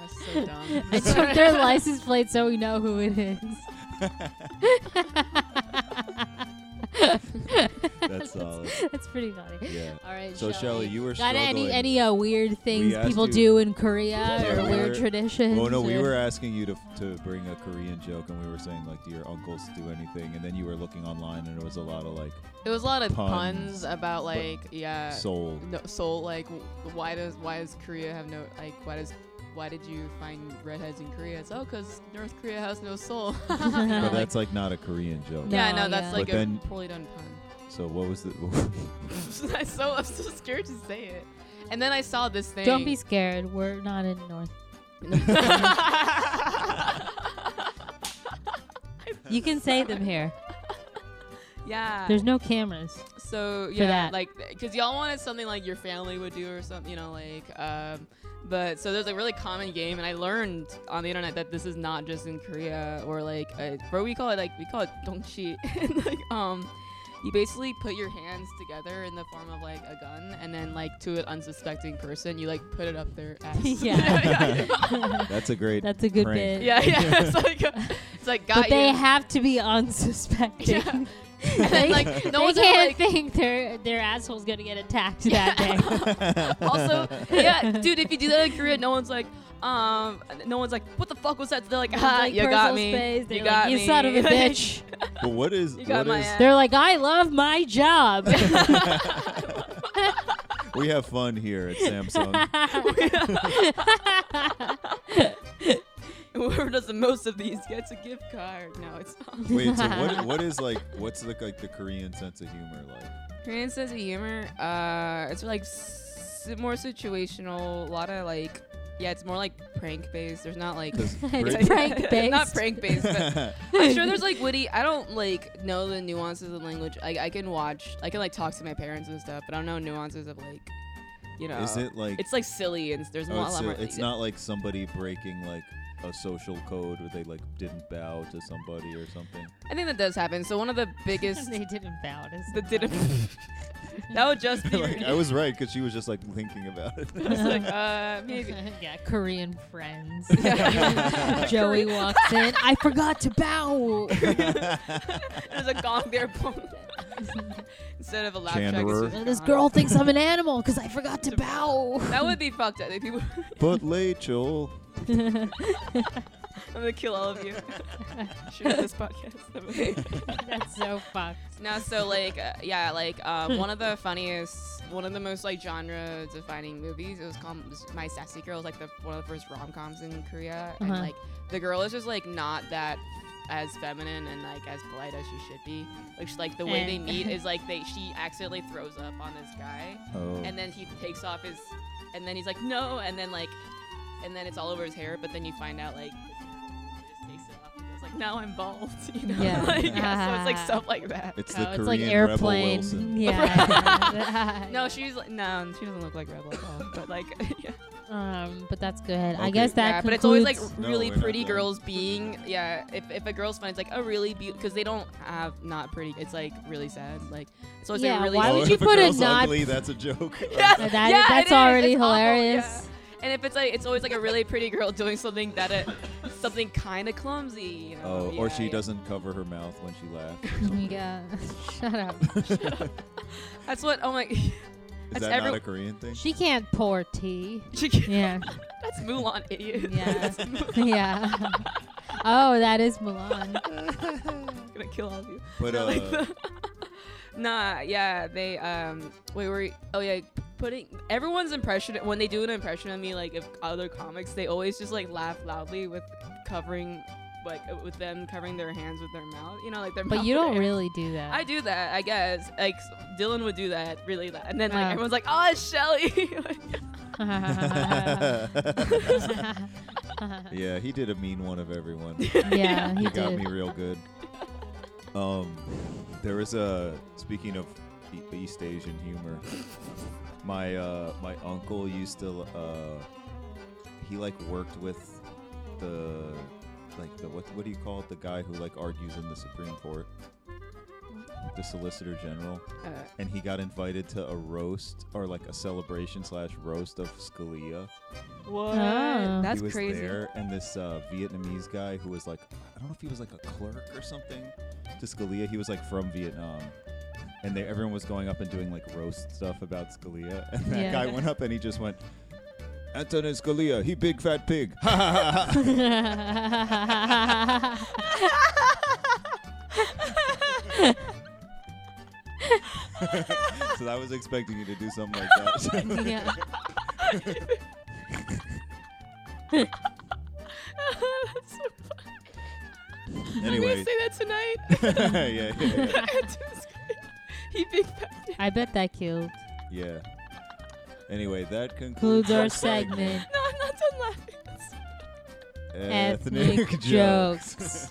That's so dumb. I took their license plate so we know who it is. That's solid. That's pretty funny. Yeah. All right. So Shelly, you were got struggling. any any uh, weird things asked people you- do in Korea Yeah, or we weird were- traditions? well, Oh, no, we or- were asking you to, to bring a Korean joke, and we were saying like, do your uncles do anything? And then you were looking online, and it was a lot of like It was a lot of Puns. puns, about like, yeah, Uh, soul. no, so like, w- why does why does Korea have no like why does why did you find redheads in Korea? It's oh, cause North Korea has no soul. But Like, that's like not a Korean joke. yeah, No, no, that's yeah. like But a then- poorly done pun. So what was the? I'm so I'm so scared to say it. And then I saw this thing. Don't be scared. We're not in North. You can say them here. yeah. There's no cameras. so yeah, that. like because y'all wanted something like your family would do or something, you know, like. Um, but so there's a really common game, and I learned on the internet that this is not just in Korea or like uh, where we call it like we call it dongchi. And, like um, you basically put your hands together in the form of like a gun, and then like to an unsuspecting person, you like put it up their ass. Yeah. That's a great. That's a good Prank. bit. Yeah, yeah. It's like uh, it's like got But they you. have to be unsuspecting. Yeah. and then, like no they one's ever, can't like think their their asshole's gonna get attacked that day. also yeah, dude. If you do that in Korea, no one's like um, no one's like what the fuck was that? They're like It's ah, like you personal got me. space. They're You like, got you me. son of a Like, bitch. but what is You got what my is- ass. They're like, I love my job. we have fun here at Samsung. Whoever does the most of these gets a gift card. No, it's not. Wait, so what what is like what's the like the Korean sense of humor like? Korean sense of humor. Uh, it's like s- more situational. A lot of like, yeah, it's more like prank based. There's not like. It's prank-based. Not prank based, but I'm sure there's like witty. I don't like know the nuances of language. Like I can watch, I can like talk to my parents and stuff, but I don't know nuances of like, you know. is it like It's like silly and there's oh, not a it's, lot so- more. it's not like somebody breaking like a social code where they like didn't bow to somebody or something. I think that does happen. So one of the biggest they didn't bow. to that didn't. someone. that would just be. like I was right because she was just like thinking about it. I was like, uh, maybe. yeah, Korean friends. Yeah. Joey walks in. I forgot to bow. There's a gong there. boom. Instead of a laugh track, it's Chanderer. just a And this gong. girl thinks I'm an animal because I forgot to bow. That would be fucked up. Like, people. but Rachel, I'm gonna kill all of you. Shoot this podcast. Okay. That's so fucked. No, so like, uh, yeah, like um, one of the funniest, one of the most like genre-defining movies. It was called My Sassy Girl. It was like the one of the first rom-coms in Korea, and Uh-huh. like the girl is just like not that as feminine and like as polite as she should be. Like, she, like the way they And- meet is like they she accidentally throws up on this guy, Oh. and then he takes off his, and then he's like no, and then like, and then it's all over his hair, but then you find out like. he just takes it off and goes, Like now I'm bald, you know. Yeah. like, yeah, so it's like Ah. stuff like that. It's oh, the it's Korean like Rebel airplane. Wilson. Yeah. No, she's like, no, she doesn't look like Rebel at all. But like, yeah, Um, but that's good. I Okay. guess that. yeah but it's always like concludes- No, really we're not pretty done. girls being, yeah. If, if a girl's fun, it's like oh really beautiful because they don't have not pretty. It's like really sad. Like it's always Yeah, like really. why oh, would if you a put a girl's knot- ugly, that's a joke. Yeah, Uh, that- yeah, that's it is. already It's awful, yeah. hilarious. And if it's like it's always like a really pretty girl doing something that it, something kind of clumsy, you know. Oh, or Yeah, she yeah. doesn't cover her mouth when she laughs. yeah. Shut up. That's what. Oh my. Is That's that every- not a Korean thing? She can't pour tea. She can't- Yeah. That's Mulan, idiot. Yeah. That's Mulan. yeah. Oh, that is Milan. I'm gonna kill all of you. But No, uh, like the- nah, yeah, they um, wait, were oh yeah, putting everyone's impression when they do an impression of me, like of other comics, they always just like laugh loudly with covering, like uh, with them covering their hands with their mouth, you know, like their. But mouth you with don't their- really do that. I do that, I guess. Like s- Dylan would do that, really, that, and then like Oh. everyone's everyone's like, "Oh, it's Shelly." uh, yeah, he did a mean one of everyone. yeah, he he got did. me real good. Um, there was a speaking of E- East Asian humor. My uh, my uncle used to uh, he like worked with the like the what what do you call it the guy who like argues in the Supreme Court, the Solicitor General, and he got invited to a roast or like a celebration slash roast of Scalia what? Oh. That's he was crazy. there, and this uh, Vietnamese guy who was like, I don't know if he was like a clerk or something to Scalia. He was like from Vietnam, and they, everyone was going up and doing like roast stuff about Scalia, and that Yeah. guy went up and he just went, Antonin Scalia, he big fat pig. Ha ha ha ha. So I was expecting you to do something like that. yeah. That's so funny. anyway, I'm gonna say that tonight. yeah, yeah, yeah, he big fat. I bet that killed. yeah. Anyway, that Includes concludes our segment. No, I'm not done laughing. Ethnic, Ethnic jokes. jokes.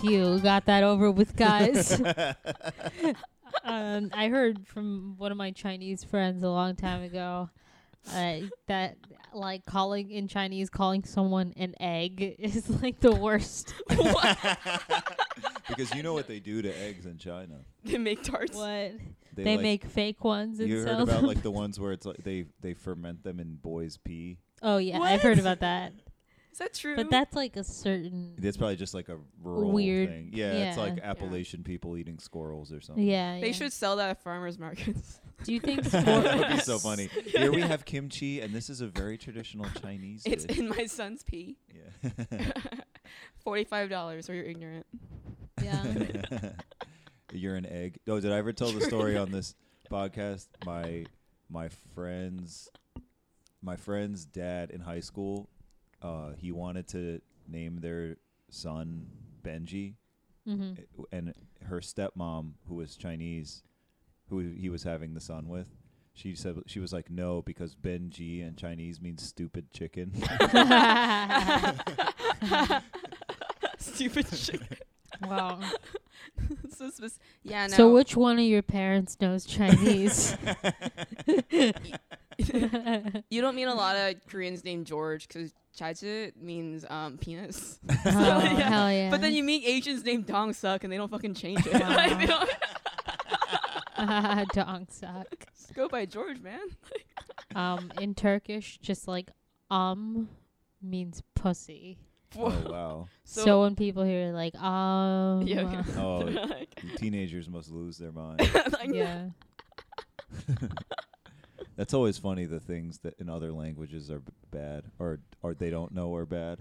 Phew, got that over with, guys. um, I heard from one of my Chinese friends a long time ago uh, that like calling in Chinese calling someone an egg is like the worst. because you know what they do to eggs in China. They make tarts. What They, they like, make fake ones and You sell heard about them. like the ones where it's like they they ferment them in boys' pee. oh yeah, I've heard about that. Is that true? But that's like a certain That's probably just like a rural Weird. thing. Yeah, it's Yeah. like Appalachian people eating squirrels or something. yeah. they yeah. should sell that at farmers markets. Do you think that squir- would be so funny. Here we have kimchi, and this is a very traditional Chinese It's dish. in my son's pee. Yeah. Forty-five dollars, or you're ignorant. yeah. You're an egg. Oh, did I ever tell the story on this podcast? My my friend's my friend's dad in high school, uh, he wanted to name their son Benji, hmm and her stepmom, who was Chinese, who he was having the son with, she said she was like, no, because Benji in Chinese means stupid chicken. Stupid shit. wow. so spec- yeah. No. So which one of your parents knows Chinese? You don't meet a lot of Koreans named George because chaje means um, penis. oh, yeah. hell yeah. But then you meet Asians named Dong Suk and they don't fucking change it. Wow. Like, they don't dong suck. just go by George, man. Um, in Turkish, just like um means pussy. oh wow! So, So- when people hear like um, Yeah, yeah, okay. Oh, like, teenagers must lose their mind. like, uh, yeah, That's always funny. The things that in other languages are b- bad, or or they don't know are bad.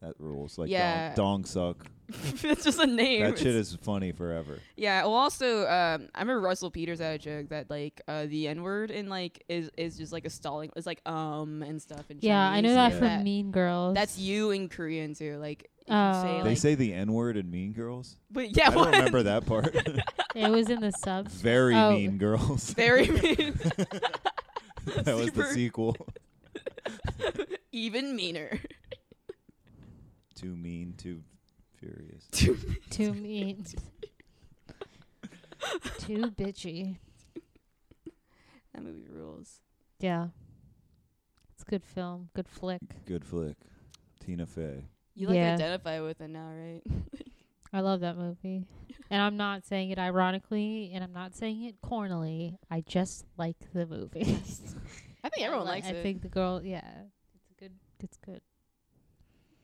That rules. Like Yeah. dong, dong suck. it's just a name. That shit It's- is funny forever. Yeah. Well, also, um, I remember Russell Peters had a joke that like uh, the N word in like is is just like a stalling. It's like um and stuff. In Yeah, I know Chinese, that like Yeah. from Mean Girls. That's you in Korean too. Like if you say, Oh. like, Oh, They say the N word in Mean Girls. but yeah, I don't what? remember that part. It was in the sub. Very Oh. Mean Girls. Very mean. that was the Super. sequel. Even meaner. too mean, too furious. Too mean. Too bitchy. That movie rules. Yeah. It's a good film. Good flick. Good flick. Tina Fey. You like Yeah. identify with it now, right? I love that movie. And I'm not saying it ironically and I'm not saying it cornily. I just like the movie. I think everyone I likes I it. think the girl, yeah. It's a good it's good.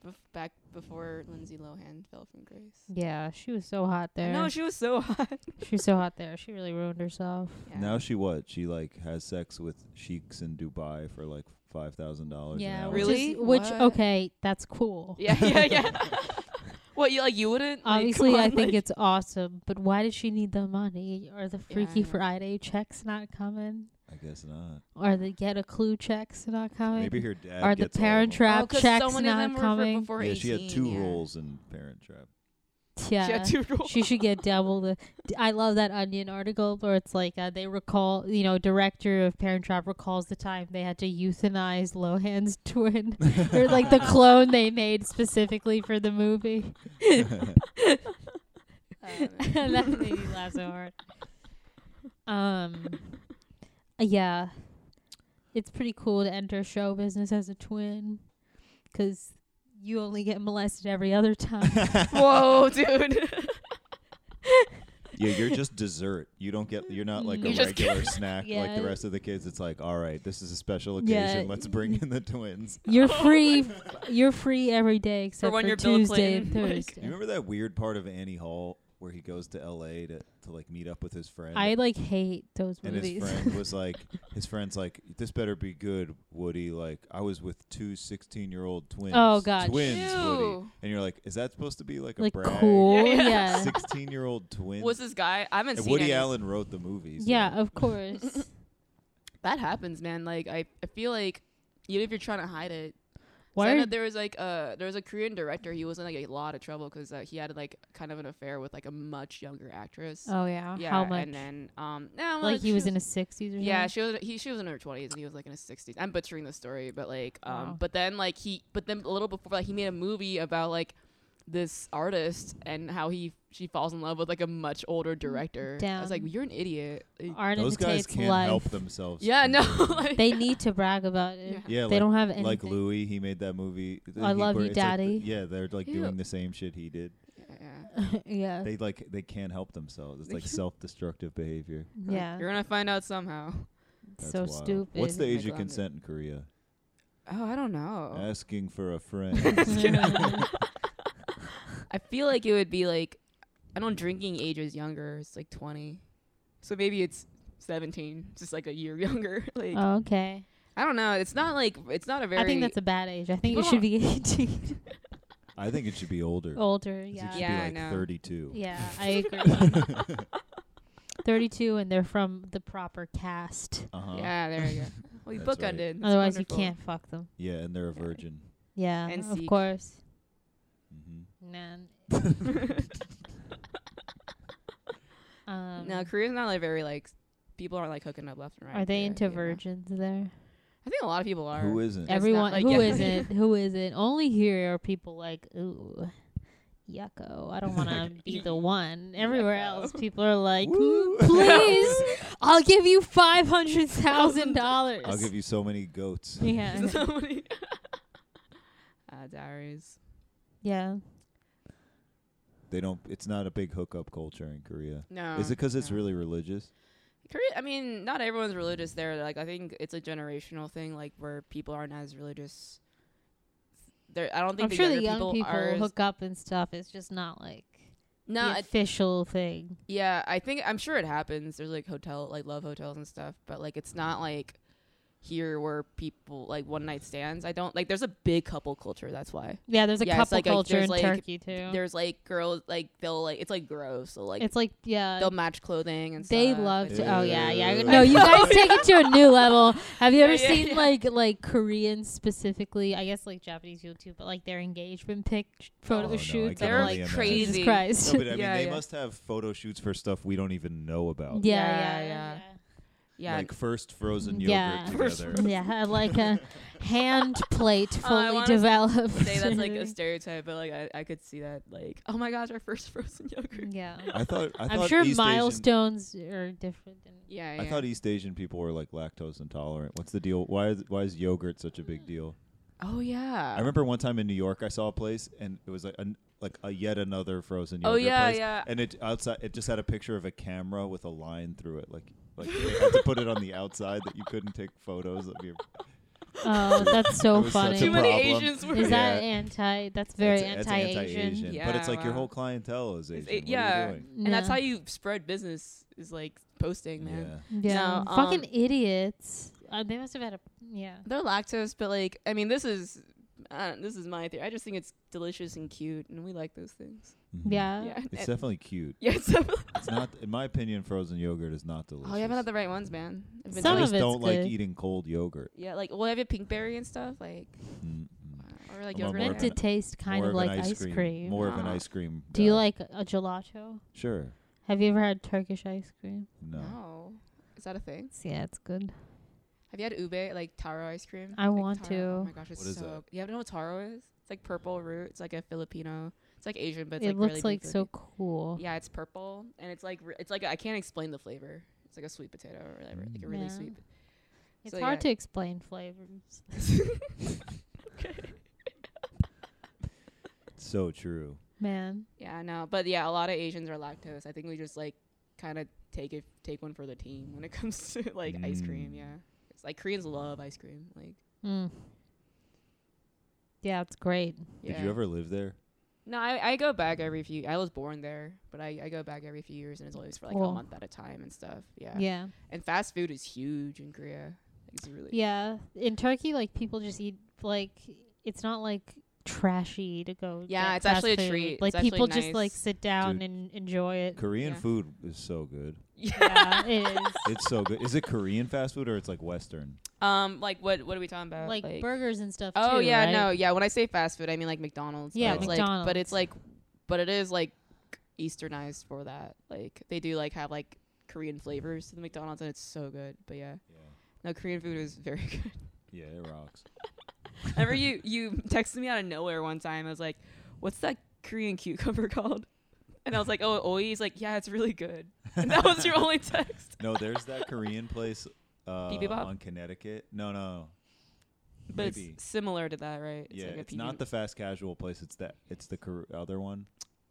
Bef- back before Lindsay Lohan fell from grace. Yeah, she was so hot there. No, she was so hot. she was so hot there. She really ruined herself. Yeah. Now she what? She like has sex with sheiks in Dubai for like five thousand dollars. Yeah, an hour. which is- Really? Which, What? okay, that's cool. yeah, yeah, yeah. what you like? You wouldn't. Like, Obviously, come I on, think like- it's awesome, but why does she need the money? Are the Freaky Yeah. Friday checks not coming? I guess not. Are the Get a Clue checks not coming? Maybe her dad. Are the gets all Parent of them. Trap Oh, 'cause checks so many of not them were for- coming? before Yeah, she had 18, two yeah. roles in Parent Trap. yeah. She had two roles. she should get double the. d- I love that Onion article where it's like uh, they recall, you know, director of Parent Trap recalls the time they had to euthanize Lohan's twin, or like the clone they made specifically for the movie. that made me laugh so hard. Um, yeah, it's pretty cool to enter show business as a twin, 'cause you only get molested every other time. Whoa, dude. yeah, you're just dessert. You don't get. You're not like a You just regular snack like Yeah. the rest of the kids. It's like, all right, this is a special occasion. Yeah. Let's bring in the twins. You're free. You're free every day except when you're Bill Tuesday and Clinton, like- Thursday. You remember that weird part of Annie Hall where he goes to L.A. to to like meet up with his friend? I like hate those and movies. his friend was like his friend's like this better be good woody like i was with two 16 year old twins Oh, God. twins woody Ew. and you're like is that supposed to be like a like brag cool, Yeah, yeah. yeah. Yeah, 16 year old twins Was this guy? I haven't and seen woody any- allen wrote the movies of course. That happens, man. Like I, I feel like even if you're trying to hide it. 'Cause Why? I know Are, there was like uh there was a Korean director. He was in like a lot of trouble because uh, he had like kind of an affair with like a much younger actress. oh yeah. yeah, How much? And then um, no, like he was in a. his sixties or Yeah, something? she was he she was in her twenties and he was like in his sixties. I'm butchering the story, but like um Wow. but then like he but then a little before like he made a movie about like this artist and how he she falls in love with like a much older director. I was like, Mm-hmm. Damn. you're an idiot. Like, Arna those Tate's guys can't life. help themselves yeah, no. completely. like- They need to brag about it. Yeah. yeah They like, don't have anything. like Louis, he made that movie. I He- Love where You, it's like the- Daddy. yeah, they're like Ew. doing the same shit he did. Yeah. yeah. They like they can't help themselves. It's like self-destructive behavior. yeah. You're gonna find out somehow. That's so wild. stupid. What's the Oh my age of God. consent in Korea? Oh, I don't know. Asking for a friend. I feel like it would be like I don't drinking age is younger, it's like twenty. So maybe it's seventeen, just like a year younger. like Oh, okay. I don't know. It's not like it's not a very I think that's a bad age. I think People it should don't- be eighteen. I think it should be older. Older, I think Oh, yeah. It should Yeah, I be like know. 32. Yeah, I agree. 32 and they're from the proper cast. Uh-huh. Yeah. Yeah, there you go. Well, you That's book right. ended. It's Otherwise wonderful. you can't fuck them. and they're a Yeah. virgin. Yeah, And of seek. course. hmm Man. um, No, Korea's not like very like s- people aren't like hooking up left and right. are they there, into you know? virgins there? I think a lot of people are. Who isn't? Ev- Everyone like- who yeah. not Who isn't? Only here are people like, ooh, yucko. I don't want to be the one. Everywhere Yucko. else, people are like, Woo. please, I'll give you five hundred thousand dollars. I'll give you so many goats. Yeah, So many- uh, diaries. yeah. They don't it's not a big hookup culture in Korea. No. Is it cuz it's no. really religious? Korea? I mean, not everyone's religious there. Like, I think it's a generational thing, like where people aren't as religious. There, I don't think I'm the sure the younger young people are. as- hook up and stuff. It's just not like no, the I- official thing. Yeah, I think I'm sure it happens. There's like hotel, like love hotels and stuff, but like it's not like here where people like one night stands. I don't like. There's a big couple culture. That's why Yeah, there's a Yeah, it's couple like a- culture there's in like- Turkey too. there's like girls like they'll like it's like gross. So like it's like yeah, they'll match clothing and They stuff. love It's- to. Oh yeah, yeah. Ew. No, you guys take it to a new level. Have you ever Oh, Yeah, yeah, seen yeah. like like Koreans specifically? I guess like Japanese people too, but like their engagement pic sh- photo Oh, no, I shoots. can I'm They're only like imagine. crazy. Jesus Christ. No, but I mean, Yeah, they yeah. must have photo shoots for stuff we don't even know yeah, about. yeah, Yeah, yeah, yeah. Like first frozen yogurt Yeah. First together. yeah. Yeah, like a hand plate Oh, I fully wanna developed. say that's like a stereotype, but like I, I could see that like oh my gosh, our first frozen yogurt. yeah. I thought. I I'm thought sure East Asian, milestones are different. Than E-, Yeah, yeah. I thought East Asian people were like lactose intolerant. What's the deal? Why is why is yogurt such a big deal? oh yeah. I remember one time in New York, I saw a place and it was like an, like a yet another frozen Oh, yogurt yeah, place. yeah. And it outside, it just had a picture of a camera with a line through it, like like they had to put it on the outside that you couldn't take photos of your. oh, that's It so was such funny. a Too many problem. Asians were Is that Yeah. anti? That's very That's- that's anti-Asian. anti-Asian, but it's Yeah, like your wow. whole clientele is It's Asian. a- What yeah. Are you doing? and that's how you spread business is like posting, man. Yeah. Yeah, No, fucking um, idiots. Uh, they must have had a yeah. They're lactose, but like I mean, this is I don't, this is my theory. I just think it's delicious and cute, and we like those things. Mhm. Yeah. Yeah, It's And- definitely cute. yeah. It's definitely- It's not, in my opinion, frozen yogurt is not delicious. oh, you haven't had the right ones, man. I've been Some I to- of just it's don't good. like eating cold yogurt. yeah, like well, have you pink berry and stuff like Mm-mm. or like yogurt. I'm more Meant of to an- taste kind More of, like an ice, cream. More of an Ah. ice cream. Do you guy. like a a gelato? Sure. Have you ever had Turkish ice cream? No. no, is that a thing? It's- yeah, it's good. Have you had ube like taro ice cream? I Like want taro- Oh to. my gosh, it's What is so. that? You haven't know what taro is? It's like purple root. It's like a Filipino. It's like Asian, but it's it like looks really like big so Filipino. cool. Yeah, it's purple, and it's like re- it's like I can't explain the flavor. It's like a sweet potato, or like, like a really Yeah. sweet. It's So, hard yeah. to explain flavors. So true. Man. Yeah, no, but yeah, a lot of Asians are lactose. I think we just like kind of take it, take one for the team when it comes to like ice cream. Mm. Yeah, it's like Koreans love ice cream. Like, Mm. Yeah, it's great. yeah. Did you ever live there? No, I, I go back every few. I was born there, but I, I go back every few years, and it's always for like Cool. a month at a time and stuff. Yeah. Yeah. yeah. and fast food is huge in Korea. Like, it's really In Turkey, like people just eat like it's not like trashy to go. Yeah, get it's fast actually a food. treat. It's Like actually people just nice. like sit down Dude. and enjoy it. Korean Yeah. food is so good. yeah, it is. It's so good. Is it Korean fast food or it's like Western? Um, like what what are we talking about? like, burgers and stuff. Oh too, yeah, right? no, yeah. When I say fast food, I mean like McDonald's. Yeah, but it's, Like, but McDonald's. it's like, but it is like Easternized for that. Like they do like have like Korean flavors to the McDonald's, and it's so good. But yeah, Yeah. no, Korean food is very good. Yeah, it rocks. Remember you you texted me out of nowhere one time. I was like, "What's that Korean cucumber called?" And I was like, "Oh, oi." He's like, "Yeah, it's really good." And that was your only text. No, there's that Korean place uh, Bibimbap? on Connecticut. No, no. But Maybe. it's similar to that, right? yeah, like a it's not PB the fast casual place. It's that. It's the Kor- other one.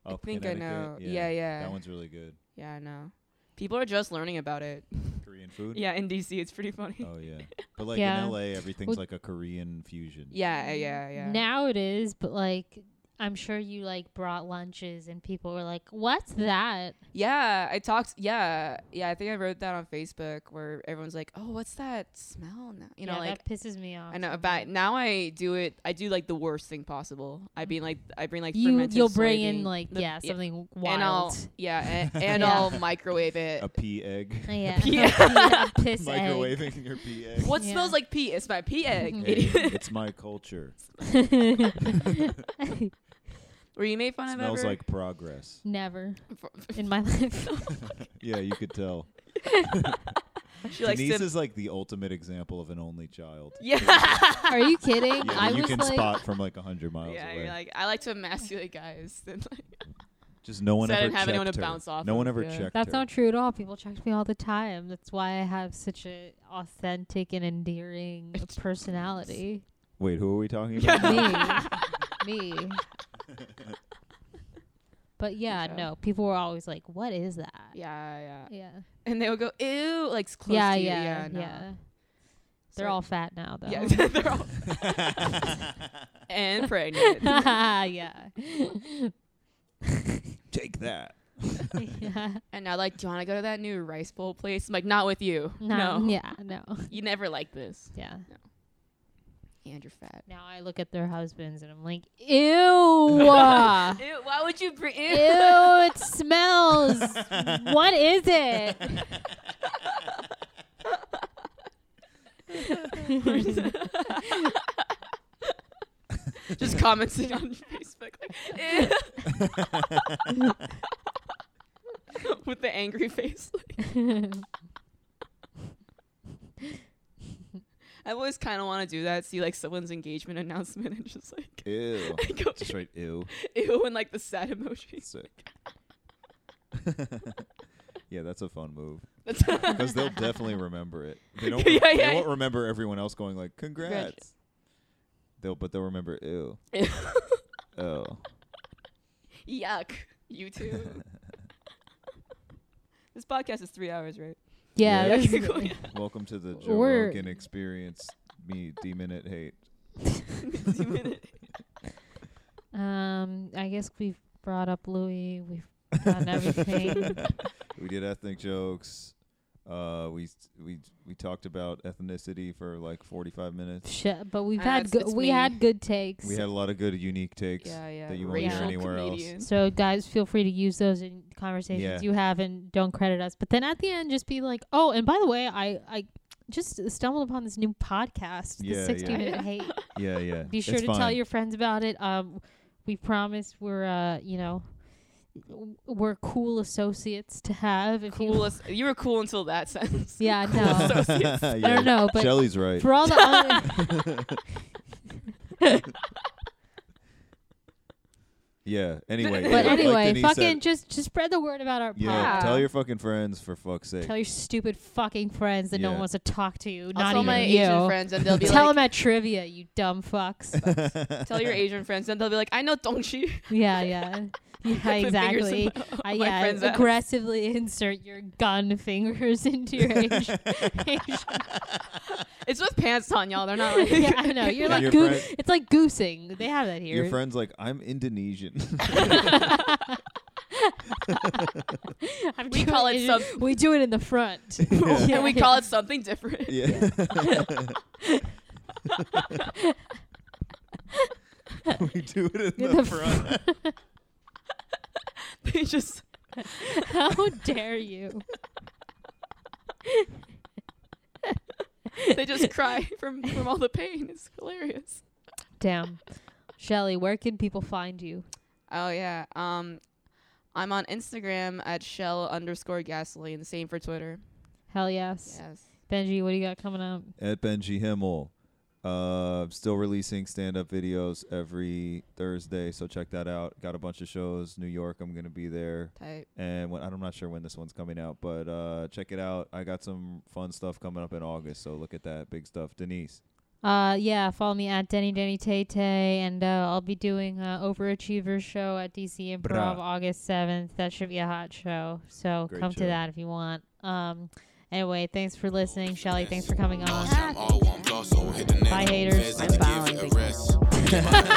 I up think I Connecticut. know. Yeah, yeah. Yeah, That one's really good. I know. People are just learning about it. Korean food. Yeah, in DC, it's pretty funny. Oh yeah. But like Yeah. in LA, everything's Well- like a Korean fusion. Yeah, yeah, yeah. Now it is, but like I'm sure you like brought lunches and people were like, "What's that?" yeah, I talked. Yeah, yeah. I think I wrote that on Facebook where everyone's like, "Oh, what's that smell?" Now you know, Yeah, like that pisses me off. I know. But sometimes. now I do it. I do like the worst thing possible. I mean, like I bring like Mm. you fermented you'll bring in soybean- like the- yeah something wild. and I'll yeah, and, and Yeah. I'll microwave it. A pea egg. Oh, yeah, Yeah. yeah, piss egg. Microwaving your pea egg. What Yeah. smells like pee? It's my pee egg. Hey, idiot. it's my culture. Were you made fun of Smells ever? like progress. Never For- in my life. Yeah, you could tell. she likes Denise to. is like the ultimate example of an only child. Yeah. Are you kidding? Yeah, I you was can like, spot from like a hundred miles Yeah, away. you're like I like to emasculate guys. Then like, Just no one So I ever didn't have anyone checked to her. bounce off No one of, ever yeah. checked That's her. not true at all. People check me all the time. That's why I have such a authentic and endearing personality. Wait, who are we talking about? now? me, me. But yeah, Yeah. no. People were always like, "What is that?" yeah, yeah. yeah, And they would go ew, like s- close yeah, to you. yeah. yeah, no. yeah. They're So- all fat now, though. Yeah, they're all and pregnant. yeah. Take that. yeah. And now, like, do you want to go to that new rice bowl place? I'm like, not with you. No, no. Yeah. No. You never like this. Yeah. And you're fat. Now I look at their husbands and I'm like, ew. Ew, why would you bring Ew, it smells. what is it? Just commenting on Facebook. Like, eh. "Ew." With the angry face. I always kind of want to do that. See, like, someone's engagement announcement and just like, Ew. go, Just right. Ew. ew, and like the sad emoji. Sick. yeah, that's a fun move That's because they'll definitely remember it. They don't. Yeah, they yeah. won't remember everyone else going like "congrats." They'll, but they'll remember "ew." Ew. Oh, Yuck. You too. this podcast is three hours, right? Yeah. Yeah. this is- Cool, yeah. welcome to the Joe Or- Rogan experience. Me deminute hate. Two minutes. um, I guess we've brought up Louis. We've done everything. we did ethnic jokes. Uh, we s- we we talked about ethnicity for like 45 minutes. Shit, but we've Uh, had it's- good. it's we me. had good takes. We had a lot of good unique takes. Yeah, yeah. that you won't hear Racial anywhere else. comedian. So guys, feel free to use those in conversations Yeah. you have, and don't credit us. But then at the end, just be like, "Oh, and by the way, I I just stumbled upon this new podcast, Yeah, the 60 yeah. Minute Hate. Yeah, yeah. Be sure It's to fine. tell your friends about it. Um, we promise we're uh, you know, w- we're cool associates to have. If You, Coolest. You were cool until that sentence. yeah, no, associates. yeah. I don't know, but Shelly's right. for all the other, yeah. Anyway. but yeah, like anyway, Denise fucking said, just just spread the word about our yeah. Yeah. Tell your fucking friends for fuck's sake. podcast. Tell your stupid fucking friends that no Yeah. one wants to talk to you. I'll not tell even my you. Asian friends, and they'll be Tell like, them at trivia, you dumb fucks. tell your Asian friends, and they'll be like, I know Dongshi. yeah, yeah. Yeah, Put fingers in exactly. my- I, my yeah, friend's ass. aggressively insert your gun fingers into your Asian. Asian. It's with pants on, y'all. They're not like. yeah, I know. You're And like your goo- friend- it's like goosing. They have that Your here. friend's like, I'm Indonesian. I'm We doing call it Asian- some- We do it in the front. Yeah. and we call it something different. yeah. we do it in In the, the front. They just How dare you? they just cry from from all the pain. It's hilarious. Damn. Shelly, where can people find you? Oh yeah. Um, I'm on Instagram at shell underscore gasoline. Same for Twitter. Hell yes. Yes. Benji, what do you got coming up? At Benji Himmel. Uh, still releasing stand up videos every Thursday, so check that out. Got a bunch of shows. New York, I'm going to be there. Type. and when, I'm not sure when this one's coming out, but uh, check it out. I got some fun stuff coming up in August, so look at that big stuff. Denise, Uh, yeah, follow me at Denny Denny Tay Tay, and uh, I'll be doing uh, Overachievers show at DC Improv Brah. August seventh. That should be a hot show, so Great come show. to that if you want. Um, anyway, thanks for listening, Shelly. Thanks for coming All on. time, all one plus, so hit the net. Bye, haters. Feds need to give it a rest. Get my hands